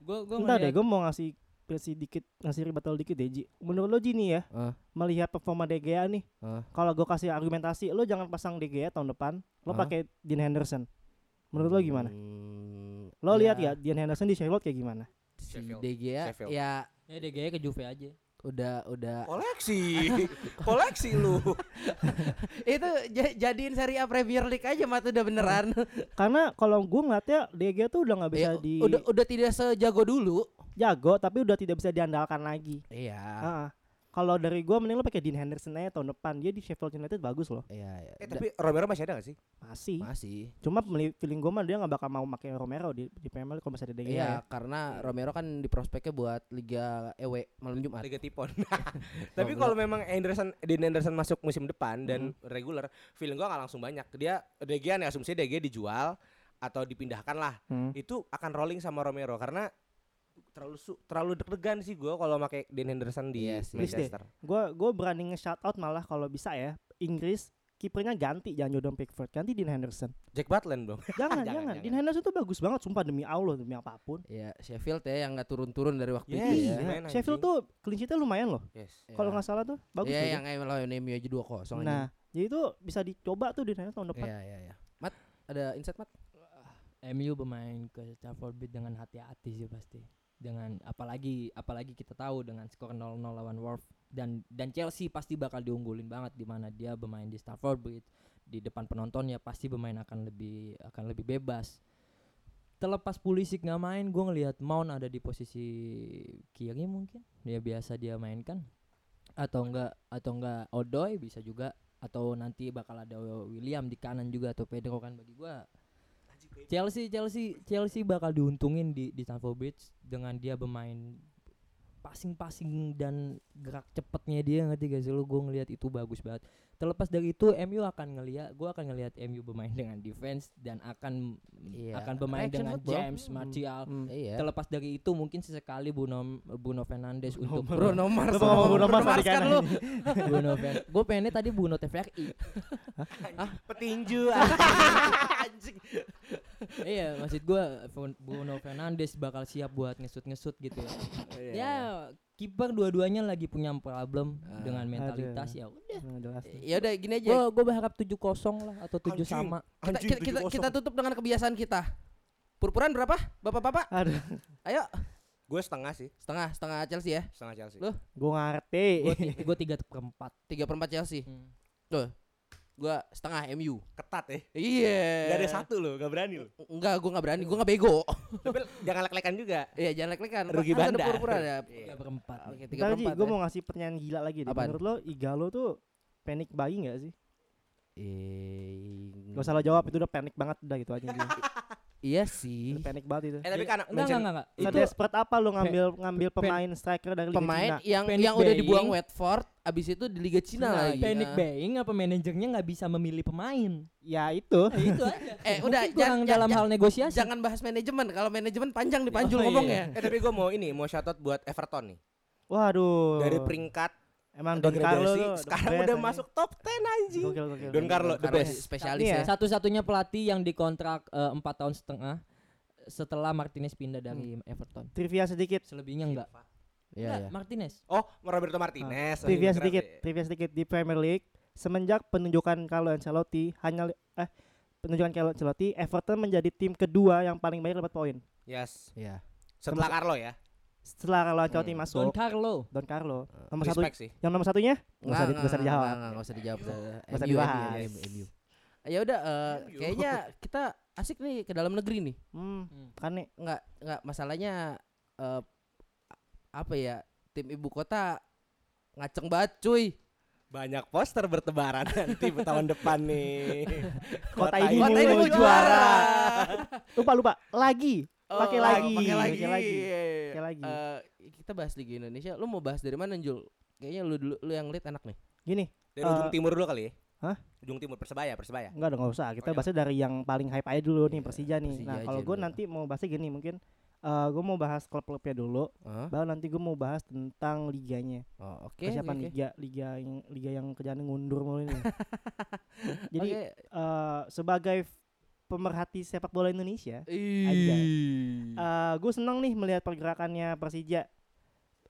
Gue gue Entar deh, gue mau ngasih ngasih dikit ngasih rebuttal dikit deh Ji. Menurut lo Ji nih ya, Heeh. melihat performa De Gea nih, Heeh. kalau gue kasih argumentasi, lo jangan pasang De Gea tahun depan, lo Hah? pakai Dean Henderson. Menurut lo gimana? Hmm, Lo ya, lihat ya Dean Henderson di Charlotte kayak gimana? Si Sheffield. De Gea Sheffield. ya Ya De Gea ke Juve aja. udah udah Oh. Koleksi. Koleksi lu. itu ja- jadiin Serie A Premier League aja mah tuh udah beneran. Karena kalau gue ngeliatnya De Gea tuh udah nggak bisa Ya, di udah udah tidak sejago dulu. jago, tapi udah tidak bisa diandalkan lagi. Iya. Ah, ah. Kalau dari gue mending lo pakai Dean Henderson aja tahun depan. Dia di Sheffield United bagus loh. Iya, iya. Eh, tapi Romero masih ada gak sih? Masih. masih. Cuma meli- feeling gue mah dia nggak bakal mau pakai Romero di, di Premier League kalau masih ada De Gea. Iya, ya. karena Romero kan di prospeknya buat Liga EW malam Jumat. Liga Tipon. Nah, Tapi kalau memang Anderson Dean Anderson masuk musim depan dan Hmm. reguler, feeling gua nggak langsung banyak. Dia DG nih asumsi DG dijual atau dipindahkan lah. Hmm. Itu akan rolling sama Romero karena terlalu su- terlalu deg-degan sih gua kalau pakai Dean Henderson di Iya sih. Please deh. Manchester. Gue gue berani nge-shout out malah kalau bisa ya. Inggris kipernya ganti jangan Jordan Pickford, ganti Dean Henderson. Jack Butland dong. Jangan, jangan, Jangan, Dean Henderson tuh bagus banget sumpah demi Allah demi apapun. Iya, Sheffield ya yang nggak turun-turun dari waktu Yes. itu Iya, ya. main anjing. Iya. Sheffield tuh clean sheet-nya lumayan loh. Yes. Kalau nggak salah tuh bagus. Iya, loh dia. yang kayak lawan MU aja 2-0 nah, anjing. jadi itu bisa dicoba tuh Dean Henderson tahun depan. Iya, iya, iya. Mat, ada insight Mat? MU bermain ke Stamford Bridge dengan hati-hati sih pasti. Dengan apalagi apalagi kita tahu dengan skor 0-0 lawan Wolves dan dan Chelsea pasti bakal diunggulin banget di mana dia bermain di Stamford Bridge di depan penontonnya pasti bermain akan lebih akan lebih bebas. Terlepas Pulisic nggak main, gue ngelihat Mount ada di posisi kiri mungkin. Dia biasa dia mainkan atau enggak atau enggak Odoi bisa juga atau nanti bakal ada William di kanan juga atau Pedro kan bagi gua Chelsea Chelsea Chelsea bakal diuntungin di di Stamford Bridge dengan dia bermain passing-passing dan gerak cepetnya dia ngerti gak sih lu gue ngelihat itu bagus banget terlepas dari itu MU akan ngelihat gue akan ngelihat MU bermain dengan defense dan akan Iya, akan bermain reaction dengan football. James Martial Hmm. Iya. terlepas dari itu mungkin sesekali Bruno Bruno Fernandes untuk Bruno Mars. Lu mau ngomong Bruno Mars tadi kan kan? lu. Bruno Fer. Gue pengennya tadi Bruno TVRI. Ah. Petinju. Anjing. iya, maksud gue Bruno Fernandes bakal siap buat ngesut-ngesut gitu ya. Iya. ya, kiper dua-duanya lagi punya problem Ah. dengan mentalitas Aduh. ya. udah. Nah, jelas. tuh. Ya udah gini aja. Gue gue berharap 7-0 lah atau 7 Anjing. sama. Kita, kita, kita, kita tutup dengan kebiasaan kita. Purpuran berapa? Bapak-bapak, Aduh, ayo. Gue setengah sih, Setengah, setengah Chelsea ya. setengah Chelsea. Lu? gue ngerti. Gue tiga per empat. Tiga per empat Chelsea. Gua setengah MU. Ketat ya. Iya. Gak ada satu loh, gak berani loh. Enggak, gua nggak berani. Gua nggak bego. Tapi jangan lek-lekan juga. Iya, jangan lek-lekan. Rugi Harus ada bandar. purpuran ya. Tiga per empat. Ah, Iya. Oke, tiga Ntar per Ji, empat. eh. gue ya. mau ngasih pertanyaan gila lagi deh. Apaan? Menurut lo Igalo tuh panic buying gak sih? Eh, Gak usah Hmm. lo jawab itu udah panic banget udah gitu aja. Ji. Iya Udah sih. panic banget itu. Eh tapi Iya. kan Enggak enggak Manchester- enggak, enggak. Itu Itu desperate apa lo ngambil ngambil pan- pemain striker dari Liga Pemain Cina? yang Panic yang udah dibuang buying. Watford abis itu di Liga Cina Nah, lagi. panic Nah. Ah. buying apa manajernya nggak bisa memilih pemain. Nah, Ya itu. Oh. itu aja. Eh, Nah, udah Mungkin jangan kurang dalam hal negosiasi. jangan bahas manajemen. Kalau manajemen panjang dipanjul Oh, iya. ngomongnya. Eh tapi gue mau ini, mau shout out buat Everton nih. Oh. Waduh. Dari peringkat Emang Don degradasi Carlo tuh the sekarang best udah anjing. masuk top 10 anjing. Gokil, gokil. Don Carlo the Karena best. spesialis Tapi ya. ya, Satu-satunya pelatih yang dikontrak eh, empat tahun setengah setelah Martinez pindah dari Everton. Trivia sedikit. Selebihnya enggak. Hmm. Iya, Enggak, iya. Martinez. Oh, Roberto Martinez. lagi Trivia bergerak Ah. Iya, sedikit. ya. Trivia sedikit di Premier League semenjak penunjukan Carlo Ancelotti hanya li- eh penunjukan Carlo Ancelotti Everton menjadi tim kedua yang paling banyak dapat poin. Yes. Iya. Setelah Carlo ya. Setelah Carlo Ancelotti Hmm. masuk Don Carlo. Don Carlo. Nomor satu Respect sih. yang nomor satunya Nggak usah di- Eh, Nggak, nggak usah nggak, dijawab. nggak, nggak, nggak usah dijawab. Nggak usah MU, dibahas. MU, MU. Ya udah eh, MU. kayaknya kita asik nih ke dalam negeri nih. Hmm, Hmm. kan nih. Nggak nggak masalahnya eh, a- apa ya? Tim ibu kota ngaceng banget cuy. Banyak poster bertebaran nanti tahun depan nih. Kota ini Kota ini mau mulu juara. Lupa lupa. Lagi. Oh, Pakai lagi, Pakai lagi. pakai lagi, Iya, iya, iya. pakai lagi. Eh, kita bahas Liga Indonesia. Lu mau bahas dari mana, Jul? Kayaknya lu dulu lu yang lead enak nih. Gini. Dari ujung Eh, timur dulu kali ya. Hah? Ujung Timur Persebaya, Persebaya. Enggak dong, nggak usah. Kita Oh, iya. bahasnya dari yang paling hype aja dulu nih Persija nih. Iya, Persija nah, aja kalau gue dulu. nanti mau bahasnya gini mungkin eh gue mau bahas klub-klubnya dulu, Hah? baru nanti gue mau bahas tentang liganya. Oh, oke. Persiapan oke, oke. liga, liga yang liga yang kerjaan ngundur mulu ini. Jadi Oke. eh, sebagai f- pemerhati sepak bola Indonesia, Ih. Hmm. gue Eh, seneng nih melihat pergerakannya Persija,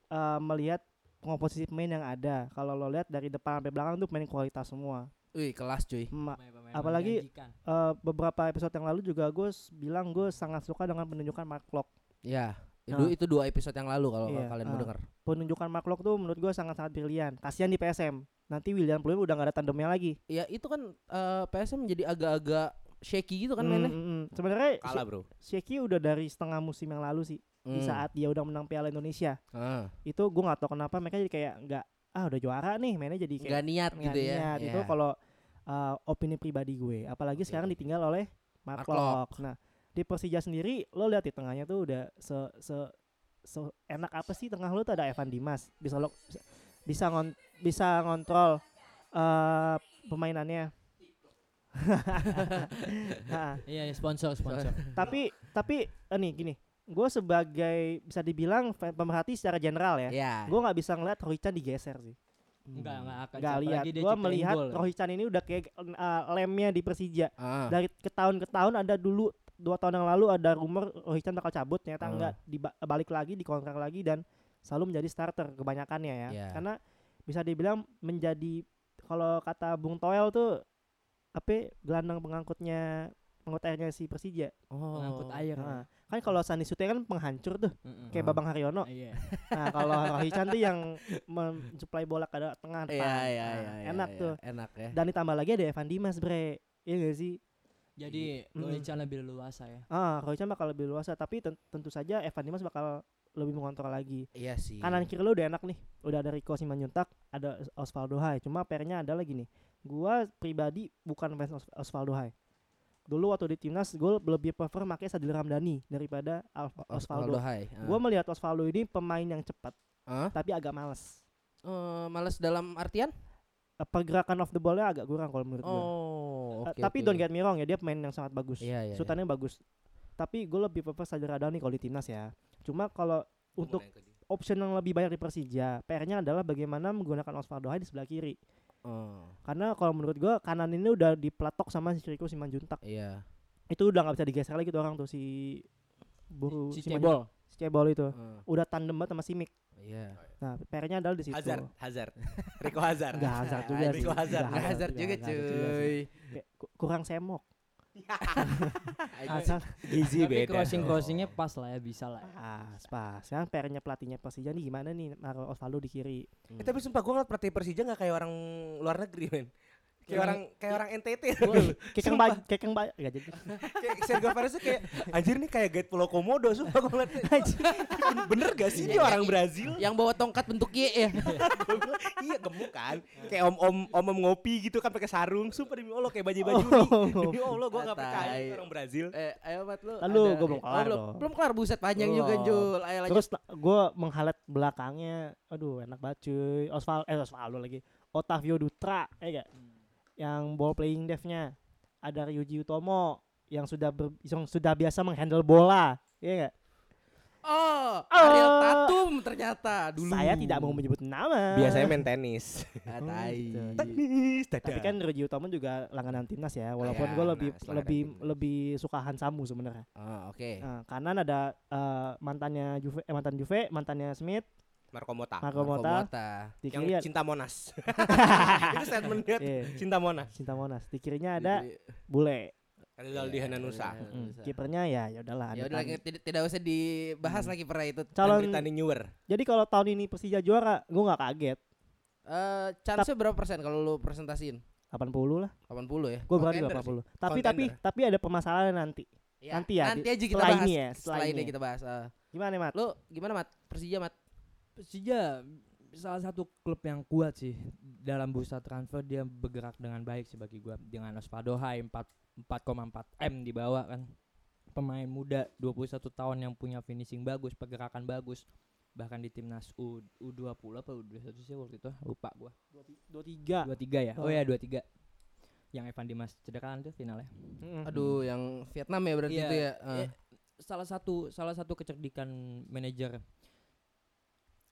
Eh, melihat komposisi pemain yang ada. Kalau lo lihat dari depan sampai belakang tuh pemain kualitas semua. Wih, kelas cuy. Ma- Pemain-pemain apalagi- menjanjikan. eh, beberapa episode yang lalu juga gue s- bilang gue sangat suka dengan penunjukan Mark Klok. Ya, itu Nah. itu dua episode yang lalu kalau Iya, kalian mau ah. denger. Penunjukan Mark Klok tuh menurut gue sangat-sangat brilian. Kasihan di PSM. Nanti William Pluim udah gak ada tandemnya lagi. Ya, itu kan eh, PSM jadi agak-agak shaky gitu kan Mm, mainnya. mm, mm. Sebenarnya Sye- Kalah, Bro. Syeki udah dari setengah musim yang lalu sih. Hmm. Di saat dia udah menang Piala Indonesia. Ah, Itu gue gak tahu kenapa mereka jadi kayak nggak ah udah juara nih mainnya jadi kayak nggak niat nggak gitu ya. niat. kan? Itu Ya. kalau uh, opini pribadi gue. Apalagi Oke. sekarang ditinggal oleh Mark Mark Klok. Klok. Nah, di Persija sendiri lo lihat di tengahnya tuh udah se se, se- enak apa sih tengah lo tuh ada Evan Dimas. Bisa lo bisa- bisa ngon, bisa ngontrol uh, pemainannya. Nah, Iya, iya, sponsor, sponsor. tapi tapi eh, nih gini, gue sebagai bisa dibilang fan- pemerhati secara general ya. Ya. Gue nggak bisa ngeliat Rohican digeser sih. Hmm. Enggak, enggak akan Gak lihat. Gue melihat ya? Rohican ini udah kayak eh, lemnya di Persija. Ah. dari ke tahun ke tahun ada dulu dua tahun yang lalu ada rumor Rohican bakal cabut ternyata Ah. enggak diba- balik lagi dikontrak lagi dan selalu menjadi starter kebanyakannya ya Iya. karena bisa dibilang menjadi kalau kata Bung Toel tuh apa gelandang pengangkutnya pengangkut airnya si Persija Oh. Mengangkut air. ya. Nah, kan kalau Sandi Sute kan penghancur tuh Mm-mm. Ah. kayak Babang Haryono Iya. nah kalau Rohican tuh yang mensuplai bola ke tengah depan Iya, iya, Nah, iya. iya, enak iya. tuh Enak ya. dan ditambah lagi ada Evan Dimas bre iya gak sih Jadi Hmm. Mm-mm. Rohican iya. lebih luas Iya. ya. Ah, Roycan bakal lebih luasa, tapi ten- tentu saja Evan Dimas bakal lebih mengontrol lagi. Iya sih. Kanan kiri lo udah enak nih. Udah ada Rico Simanjuntak, ada Os- Osvaldo Hai. Cuma pernya ada lagi nih. Gua pribadi bukan fans Os- Osvaldo Hai. Dulu waktu di timnas gue lebih prefer pakai Sadil Ramdhani daripada Al- Osvaldo. Hai. ah. Gue melihat Osvaldo ini pemain yang cepat, Ah. tapi agak males. Eh, malas dalam artian? Eh, Pergerakan off the ball-nya agak kurang kalau menurut gue. Oh. oke, oke. tapi don't get me wrong ya, dia pemain yang sangat bagus. Iya, iya. Sutannya bagus. Tapi gue lebih prefer Sadil Ramdhani kalau di timnas ya. Cuma kalau untuk option yang lebih banyak di Persija, PR-nya adalah bagaimana menggunakan Osvaldo Hai di sebelah kiri. iya. Oh, Karena kalau menurut gua kanan ini udah diplatok sama si Riko Simanjuntak. Iya. Itu udah nggak bisa digeser lagi tuh orang tuh si Buru Si Simanjuntak. Si Cebol itu. Ah, Udah tandem banget sama Simic. Iya. Nah, PR-nya adalah di situ. Hazard, Hazard. Rico Hazard. Gitu. Enggak hazard juga sih. Rico Hazard. Nggak Nggak hazard juga nggak hazard juga sih. cuy. Kayak ku- kurang semok. Hazard. Asal Gizi Tapi crossing-crossingnya pas lah ya, bisa lah. ya. Ah. pas pas. Sekarang PR-nya pelatihnya Persija nih gimana nih naruh Osvaldo di kiri. Eh, tapi sumpah gue ngeliat pelatih Persija gak kayak orang luar negeri men Kayak Yang- orang kayak orang NTT Kekeng ba kekeng ba enggak jadi. Kayak Sergio Perez tuh kayak Anjir nih kayak guide Pulau Komodo Sumpah gue ngeliatnya Iya. Anjir. "Ben- Bener gak sih dia orang Brazil Yang bawa tongkat bentuk Y ya. Gua bilang, Iya gemuk kan Kayak om-om om-om ngopi gitu kan pakai sarung Sumpah demi Allah kayak baju-baju nih. Demi Allah gue gak percaya itu orang Brazil Eh, ayo Mat lu. Lalu, ada- gua belum eh, kelar belum, dong. belum kelar buset panjang juga Belum. Jul. Ayo lanjut. Terus gue menghalat belakangnya, aduh enak banget cuy. Osval, eh Osvaldo lagi, Otavio Dutra, eh gak? Yang ball playing devnya ada Ryuji Utomo yang sudah ber, yang sudah biasa menghandle bola, iya gak? Oh, Ariel Oh. Tatum ternyata dulu. Saya tidak mau menyebut nama. main tenis Ah, tai. gitu. Tenis dadah. Tapi kan Ryuji Utomo juga langganan timnas ya, Ya, walaupun gue lebih nah, langganan lebih timnas. lebih suka Hansamu sebenarnya. Ah, oke. Nah, kanan ada eh, mantannya Juve, eh, mantan Juve, mantannya Smith, Ah, Marco Mota Marco Marco Mota, Mota. di Yang kiri ada, cinta kan? Monas Itu statement dia tuh, iya, Cinta Monas Cinta Monas, di kirinya ada Jadi- Bule. Rizaldi Hananusa Iya. Mm, Bisa. kipernya ya ya Ya udahlah Andri udah lagi Tani. tidak, tidak usah dibahas Hmm. lagi pernah itu. calon Andri Tani Newer jadi kalau tahun ini Persija juara gue nggak kaget Eh, chance berapa persen kalau lu presentasiin? 80 lah 80 ya. gue berani Contender 80 tapi tapi Contender. tapi ada permasalahan nanti Ya, Nanti ya, Nanti di- aja kita setelah bahas. ini ya, setelah setelah ini ini. kita bahas. Ah, gimana mat lu gimana Mat? Persija Mat. Persija salah satu klub yang kuat sih dalam bursa transfer dia bergerak dengan baik sih bagi gua dengan Osvaldo Hai 4 4,4 M dibawa kan pemain muda 21 tahun yang punya finishing bagus pergerakan bagus bahkan di timnas U U20 apa U21 sih waktu itu lupa gua 23 23 ya oh ya 23 yang Evan Dimas cedera kan tuh finalnya. Aduh, yang Vietnam ya berarti Iya, itu ya. eh, salah satu salah satu kecerdikan manajer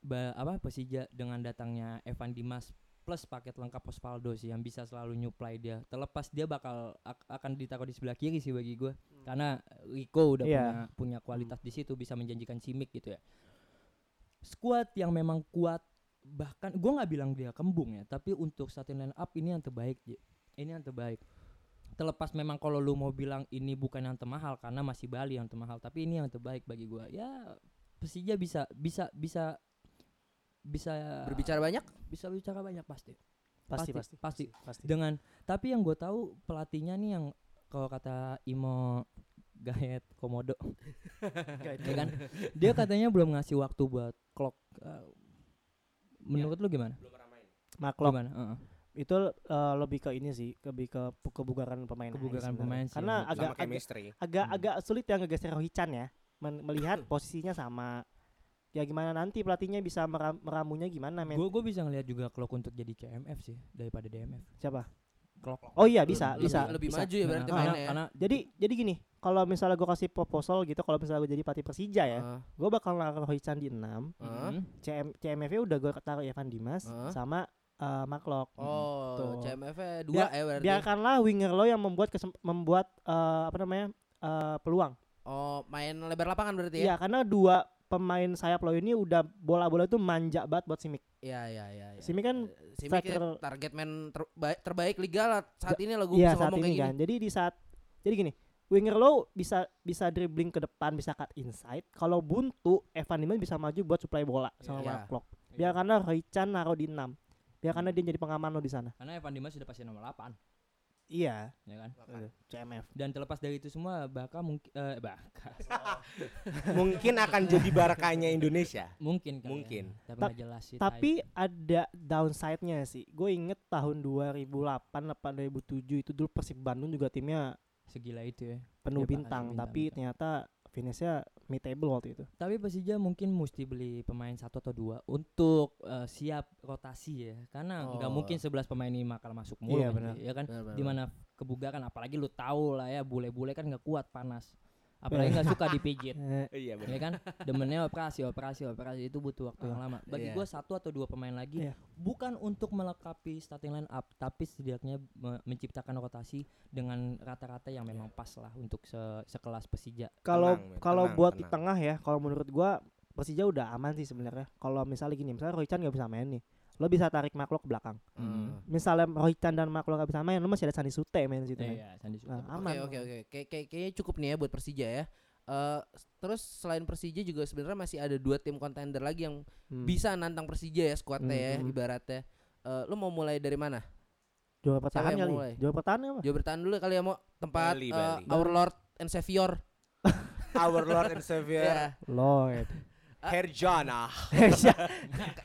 ba, apa Persija dengan datangnya Evan Dimas plus paket lengkap Osvaldo sih yang bisa selalu nyuplai dia. Terlepas dia bakal ak- akan ditaruh di sebelah kiri sih bagi gue karena Rico udah Iya. punya punya kualitas di situ bisa menjanjikan Cimik gitu ya. Squad yang memang kuat bahkan gue nggak bilang dia kembung ya tapi untuk starting line up ini yang terbaik Ji. ini yang terbaik terlepas memang kalau lu mau bilang ini bukan yang termahal karena masih Bali yang termahal tapi ini yang terbaik bagi gua ya Persija bisa bisa bisa bisa Berbicara banyak? bisa bicara banyak pasti pasti pasti, pasti pasti. pasti. dengan tapi yang gue tahu pelatihnya nih yang kalau kata Imo Gaet Komodo ya kan dia katanya belum ngasih waktu buat clock Eh, Iya. menurut lu gimana Maklok gimana Heeh. itu eh, lebih ke ini sih, lebih ke pu- kebugaran pemain. aja Kebugaran sebenarnya. pemain sih Karena yang sama agak agak chemistry. agak, Hmm. agak sulit yang ngegeser Rohican ya. Men- melihat posisinya sama. Ya gimana nanti pelatihnya bisa meram- meramunya gimana men? Gue gue bisa ngelihat juga Klok untuk jadi CMF sih daripada DMF. Siapa? Klok. Oh iya bisa, Lebih- bisa. Lebih bisa. maju ya berarti karena, mainnya. ya. Nah, karena Jadi jadi gini, kalau misalnya gue kasih proposal gitu, kalau misalnya gue jadi pelatih Persija ya, Mm-hmm. Ah, gue bakal naruh Rohican di 6 ah. Mm. CM CMF-nya udah gue taruh Evan Dimas Hah? sama eh, Maklok. Tuh. Ah. Oh, CMF -nya dua ya berarti. Biarkanlah winger lo yang membuat kesem- membuat eh, apa namanya eh, peluang. Oh, main lebar lapangan berarti ya? Iya karena dua pemain sayap lo ini udah bola-bola itu manja banget buat Simic. Iya, iya, iya. Ya. Simic kan Simic ya striker- target man terbaik, terbaik liga lah saat ini lah gue Iya bisa saat ngomong kayak ini gini. kan. Jadi di saat jadi gini winger lo bisa bisa dribbling ke depan bisa cut inside. Kalau buntu Evan Dimas bisa maju buat supply bola sama Iya. Hmm. Maklok. Biar karena Roycan naruh di 6 Biar karena dia jadi pengaman lo di sana. karena Evan Dimas sudah pasti nomor 8 Iya. ya kan. CMF. Dan terlepas dari itu semua Baka mungkin eh Baka Mungkin akan jadi barakanya Indonesia. mungkin kali ya. Mungkin. Tapi Ta- nggak jelas sih. Tapi ada downside-nya sih. Gue inget tahun 2008 apa 2007 itu dulu Persib Bandung juga timnya tai. segila itu ya. penuh Iya, Pak, bintang, bintang, tapi bintang. ternyata finishnya mid table waktu itu. Tapi Persija mungkin mesti beli pemain satu atau dua untuk eh, siap rotasi ya. Karena nggak Oh. mungkin 11 pemain ini bakal masuk mulu Iya, kan, benar. ya kan. Benar, benar, benar. Dimana kebugaran apalagi lu tahu lah ya bule-bule kan nggak kuat panas. Apalagi nggak suka dipijit. Eh, Iya benar. ya kan demennya operasi operasi operasi itu butuh waktu yang lama Iya. bagi gua satu atau dua pemain lagi Iya. bukan untuk melengkapi starting line up tapi setidaknya me- menciptakan rotasi dengan rata-rata yang memang pas lah untuk se- sekelas Persija Kalau Tenang, men, kalau tenang, buat di tenang. tengah ya, kalau menurut gua Persija udah aman sih sebenarnya. Kalau misalnya gini, misalnya Roy Chan gak bisa main nih, lo bisa tarik Maklo ke belakang. Mm. Ah. Misalnya Roy Chan dan Maklo gak bisa main, lo masih ada Sani Sute main di situ. Iya, men. iya, Sandi Nah, Suta. aman. Oke oke oke. Kayak kayak- kayaknya cukup nih ya buat Persija ya. Eh, s- terus selain Persija juga sebenarnya masih ada dua tim kontender lagi yang Hmm. bisa nantang Persija ya skuadnya ya Mhm. ibaratnya. Eh, lu mau mulai dari mana? Juara pertahanan yang kali. mulai? Juara pertahanan apa? Jawa bertahan dulu kali ya mau tempat Bali, eh, Bali. Our Lord and Savior. Our Lord and Savior Ya. Lloyd. Herjana.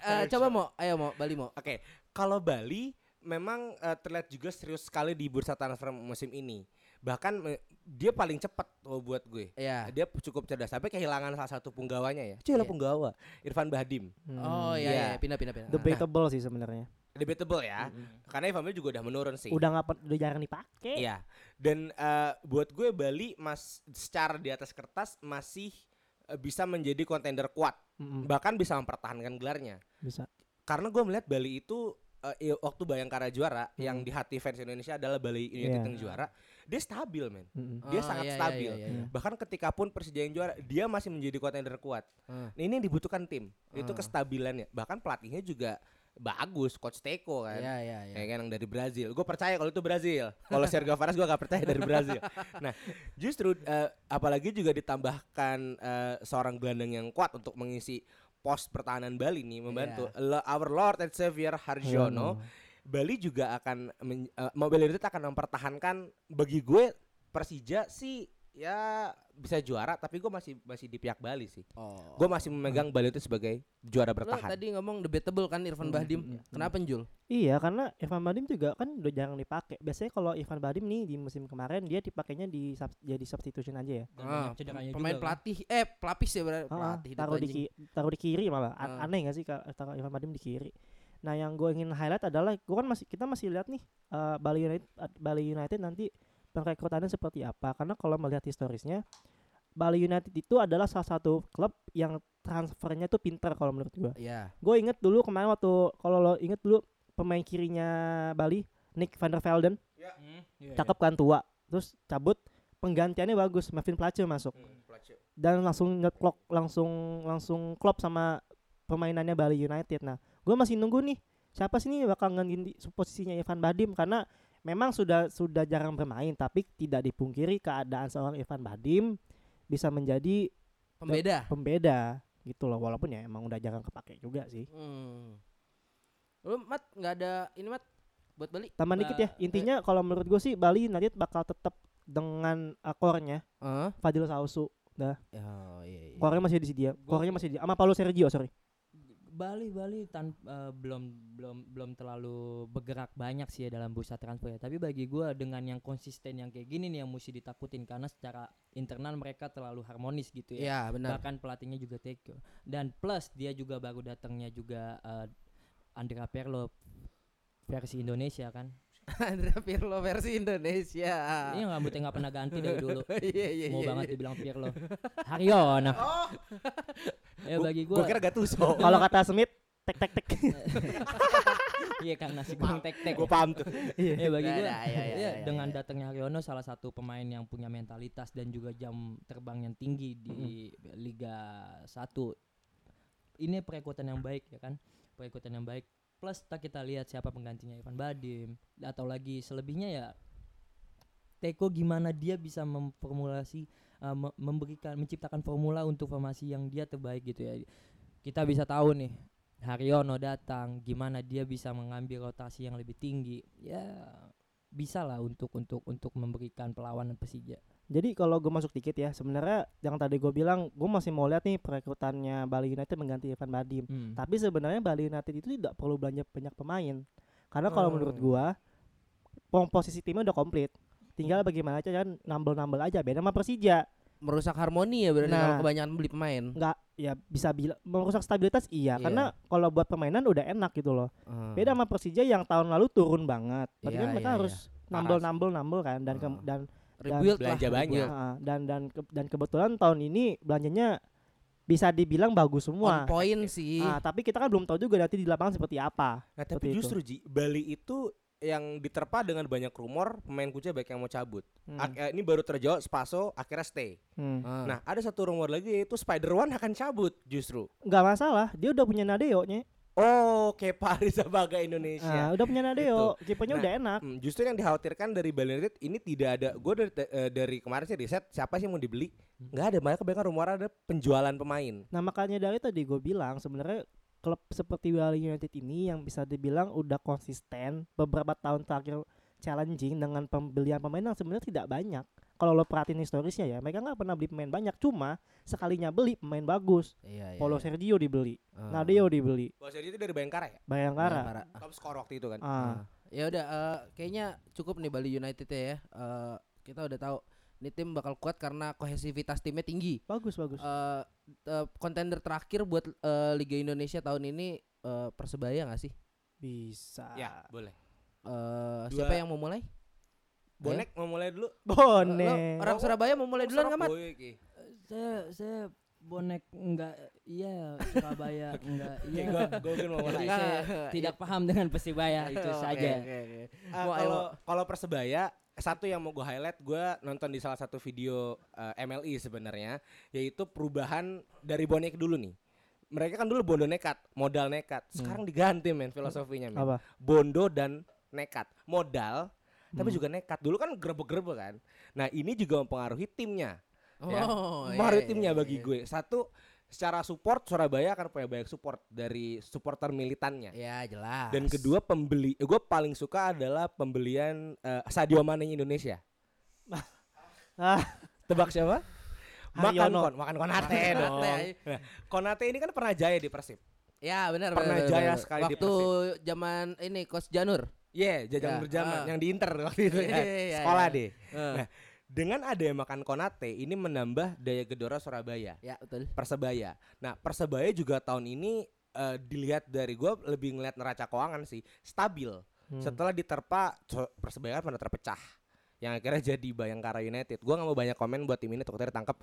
Eh, coba mau, ayo mau Bali mau. Oke, kalau Bali memang eh, terlihat juga serius sekali di bursa transfer musim ini. Bahkan eh, dia paling cepat oh, buat gue. Ya. Dia cukup cerdas sampai kehilangan salah satu punggawanya ya. Cuy, lah Iya. punggawa Irfan Bahdim. Hmm. Oh iya Iya. iya pindah pindah pindah. Debatable sih sebenarnya. Debatable ya. Karena Irfan Bahdim juga udah menurun sih. Udah nggak pen- udah jarang dipakai. Iya. Dan eh, buat gue Bali mas secara di atas kertas masih eh, bisa menjadi kontender kuat. Mm-mm, Bahkan bisa mempertahankan gelarnya. Hmm. bisa. karena gue melihat Bali itu eh, i- waktu Bayangkara juara Hmm. yang di hati fans Indonesia adalah Bali United Iya. yang juara dia stabil men Mm-mm. Ah, dia sangat iya, iya, stabil. iya, iya, iya. bahkan ketika pun Persija yang juara dia masih menjadi kontender kuat Hmm. nah, ini yang dibutuhkan tim itu Hmm. kestabilannya bahkan pelatihnya juga bagus coach Teko kan Iya iya iya. Ya kan yang dari Brazil. Gue percaya kalau itu Brazil. Kalau Sergio Faras gue gak percaya dari Brazil. Nah, justru eh, apalagi juga ditambahkan eh, seorang gelandang yang kuat untuk mengisi pos pertahanan Bali nih membantu Iya. Lo- Our Lord and Savior Iya, Harjono. Hmm. Bali juga akan men- eh, Mobile United akan mempertahankan bagi gue Persija sih ya bisa juara tapi gue masih masih di pihak Bali sih. Oh. Gue masih memegang Bali itu sebagai juara Lo bertahan. tadi ngomong debatable kan Irfan Bahdim. Kenapa Jul? Iya, karena Irfan Badim juga kan udah jarang dipakai. Biasanya kalau Irfan Badim nih di musim kemarin dia dipakainya di sub- jadi substitution aja ya. Dan Ah, banyak cederanya pemain juga kan. pelatih eh pelapis ya berarti Ah, pelatih itu taruh di anjing. ki- taruh di kiri malah. A- Ah. Aneh gak sih kalau taruh Irfan Badim di kiri. Nah, yang gue ingin highlight adalah gue kan masih kita masih lihat nih eh, Bali United Bali United nanti perekrutannya seperti apa. Karena kalau melihat historisnya Bali United itu adalah salah satu klub yang transfernya tuh pintar kalau menurut gue. Ya. Gue inget dulu kemarin waktu kalau lo inget dulu pemain kirinya Bali Nick van der Velden cakep kan tua terus cabut penggantiannya bagus Marvin Platje masuk dan langsung ngeklok langsung langsung klop sama permainannya Bali United nah gue masih nunggu nih siapa sih nih bakal ngeganti posisinya Ivan Badim karena memang sudah sudah jarang bermain tapi tidak dipungkiri keadaan seorang Ivan Badim bisa menjadi Pembeda. pembeda gitu loh walaupun ya emang udah jarang kepake juga sih Hmm. Lu mat nggak ada ini mat buat beli? tambah dikit Nah, ya intinya kalau menurut gue sih Bali United bakal tetap dengan akornya Heeh. Fadil Sausu Oh iya. iya. Kornya masih di dia. Kornya masih di sama Paulo Sergio, sorry. Bali Bali tan eh, belum belum belum terlalu bergerak banyak sih ya dalam bursa transfer ya. Tapi bagi gua dengan yang konsisten yang kayak gini nih yang mesti ditakutin karena secara internal mereka terlalu harmonis gitu ya. Iya benar. Bahkan pelatihnya juga Teko. Dan plus dia juga baru datangnya juga eh, Andrea Perlo versi Indonesia kan. Andrea Pirlo versi Indonesia. Ini Iya, rambutnya nggak pernah ganti dari dulu. Iya Ah. iya Mau iya, iya. banget Oh. dibilang Pirlo. Haryono. ya bagi Gue gua kira Gattuso. Kalau kata Smith, tek tek tek. iya kan nasi goreng tek-tek. Gue paham tuh. ya bagi Ya, gue ya, ya, ya, ya, dengan ya. datangnya Haryono salah satu pemain yang punya mentalitas dan juga jam terbang yang tinggi di Liga 1 ini perekrutan yang baik ya kan perekrutan yang baik plus tak kita lihat siapa penggantinya Ivan Badim atau lagi selebihnya ya Teko gimana dia bisa memformulasi eh, me- memberikan menciptakan formula untuk formasi yang dia terbaik gitu ya kita bisa tahu nih Haryono datang, gimana dia bisa mengambil rotasi yang lebih tinggi? Ya bisa lah untuk untuk untuk memberikan perlawanan Persija. Jadi kalau gue masuk dikit ya, sebenarnya yang tadi gue bilang, gue masih mau lihat nih perekrutannya Bali United mengganti Evan Badim. Hmm. Tapi sebenarnya Bali United itu tidak perlu belanja banyak pemain. Karena kalau menurut gua komposisi timnya udah komplit. Tinggal bagaimana aja kan nambel-nambel aja beda sama Persija. Merusak harmoni ya berarti kalau Nah. kebanyakan beli pemain. Nggak ya bisa bila merusak stabilitas iya, Iya. karena kalau buat permainan udah enak gitu loh. Hmm. Beda sama Persija yang tahun lalu turun banget. Berarti Iya, kan mereka iya, harus iya. Parah sih. nambel-nambel nambel kan dan ke- Ah. dan Rebuild lah. Belanja banyak. rebuild. ah, dan dan ke- dan kebetulan tahun ini belanjanya bisa dibilang bagus On semua. point sih. Iya, Ah, tapi kita kan belum tahu juga nanti di lapangan seperti apa. Nah tapi Seperti itu. justru Ji, Bali itu yang diterpa dengan banyak rumor pemain kunci banyak yang mau cabut. Hmm, Ak- eh, ini baru terjawab Spaso akhirnya stay. hmm. Ah. Nah ada satu rumor lagi yaitu Spider One akan cabut justru. nggak masalah, dia udah punya Nadeo-nya. Oh Kepa Arrizabalaga Indonesia. Ah, udah punya Nadeo, Iya. kipernya Nah, udah enak. Hmm, justru yang dikhawatirkan dari Bali United ini tidak ada. Gue dari eh, dari kemarin sih riset siapa sih yang mau dibeli? Nggak ada. Malah kebanyakan rumor ada penjualan pemain. Nah, makanya dari tadi gue bilang sebenarnya klub seperti Bali United ini yang bisa dibilang udah konsisten beberapa tahun terakhir challenging dengan pembelian pemain yang sebenarnya tidak banyak. Kalau lo perhatiin historisnya ya, mereka nggak pernah beli pemain banyak, cuma sekalinya beli pemain bagus. Iya iya. Paulo iya. Sergio dibeli, Ah. Nadeo dibeli, Bahwa itu dari Bayangkara ya? Bayangkara. Bayangkara. Top skor waktu itu kan. Ah, Ya udah eh, kayaknya cukup nih Bali United ya. Eh, kita udah tahu ini tim bakal kuat karena kohesivitas timnya tinggi. bagus bagus. Eh, eh, kontender terakhir buat eh, Liga Indonesia tahun ini eh, persebaya nggak sih? Bisa. Ya boleh. Eh, Dua- siapa yang mau mulai? Bonek mau mulai dulu. Bone. Lo- orang Surabaya mau mulai duluan nggak mat? Boy, Ki. Saya saya bonek enggak iya Surabaya enggak Oke, iya. gua gue mau mulai. Jadi Ah. saya tidak paham dengan Persibaya itu Oke, saja. oke, oke. Ah, Mau, kalau kalau persebaya satu yang mau gue highlight gue nonton di salah satu video eh, MLI sebenarnya yaitu perubahan dari bonek dulu nih mereka kan dulu bondo nekat modal nekat Hmm. sekarang diganti men filosofinya men Apa? bondo dan nekat modal tapi Hmm. juga nekat dulu kan grebek-grebek kan nah ini juga mempengaruhi timnya Ya. Oh, iya, mempengaruhi iya, timnya iya, bagi iya. gue satu secara support Surabaya akan punya banyak support dari supporter militannya Ya jelas. dan kedua pembeli, gue paling suka adalah pembelian eh, Sadio Mane Indonesia. Ah. Tebak siapa? Makan Haryono. kon, makan Konate Konate, dong. ay. Nah, Konate ini kan pernah jaya di Persib. Ya benar Pernah benar, benar, jaya benar. sekali di Waktu zaman ini Coach Janur. Iya, jajan Ya, berjaman ah. yang di Inter waktu itu Iya, kan. iya, iya, Sekolah iya. deh. Eh, Nah, Dengan ada yang makan Konate ini menambah daya gedora Surabaya, ya betul. Persebaya. Nah, Persebaya juga tahun ini eh, dilihat dari gue lebih ngelihat neraca keuangan sih stabil Hmm. setelah diterpa so- persebaya kan pernah terpecah yang akhirnya jadi Bayangkara United. Gua nggak mau banyak komen buat tim ini takutnya ditangkap.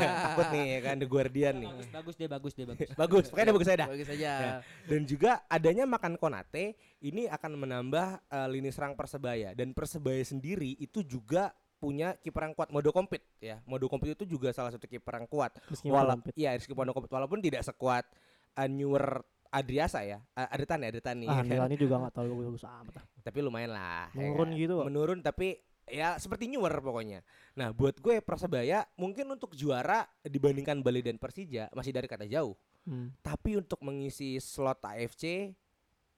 Takut nih ya kan The Guardian nih. bagus bagus deh bagus deh bagus Bagus, pokoknya udah bagus aja dah. Ya. Bagus aja. Dan juga adanya makan Konate ini akan menambah eh, lini serang Persebaya dan Persebaya sendiri itu juga punya kiper yang kuat Modo Kompit ya. Modo Kompit itu juga salah satu kiper yang kuat. Meskipun Wala lempit. iya Rizky Modo Kompit walaupun tidak sekuat eh, Newer Adriasa ya. Eh, Adetani Adetani. Ah, ya Iya. kan? Milani juga nggak tahu bagus amat. ah. tapi lumayan lah. ya Menurun kan? gitu kok. Menurun tapi ya seperti newer pokoknya. Nah buat gue Persebaya mungkin untuk juara dibandingkan Bali dan Persija masih dari kata jauh. Hmm. Tapi untuk mengisi slot AFC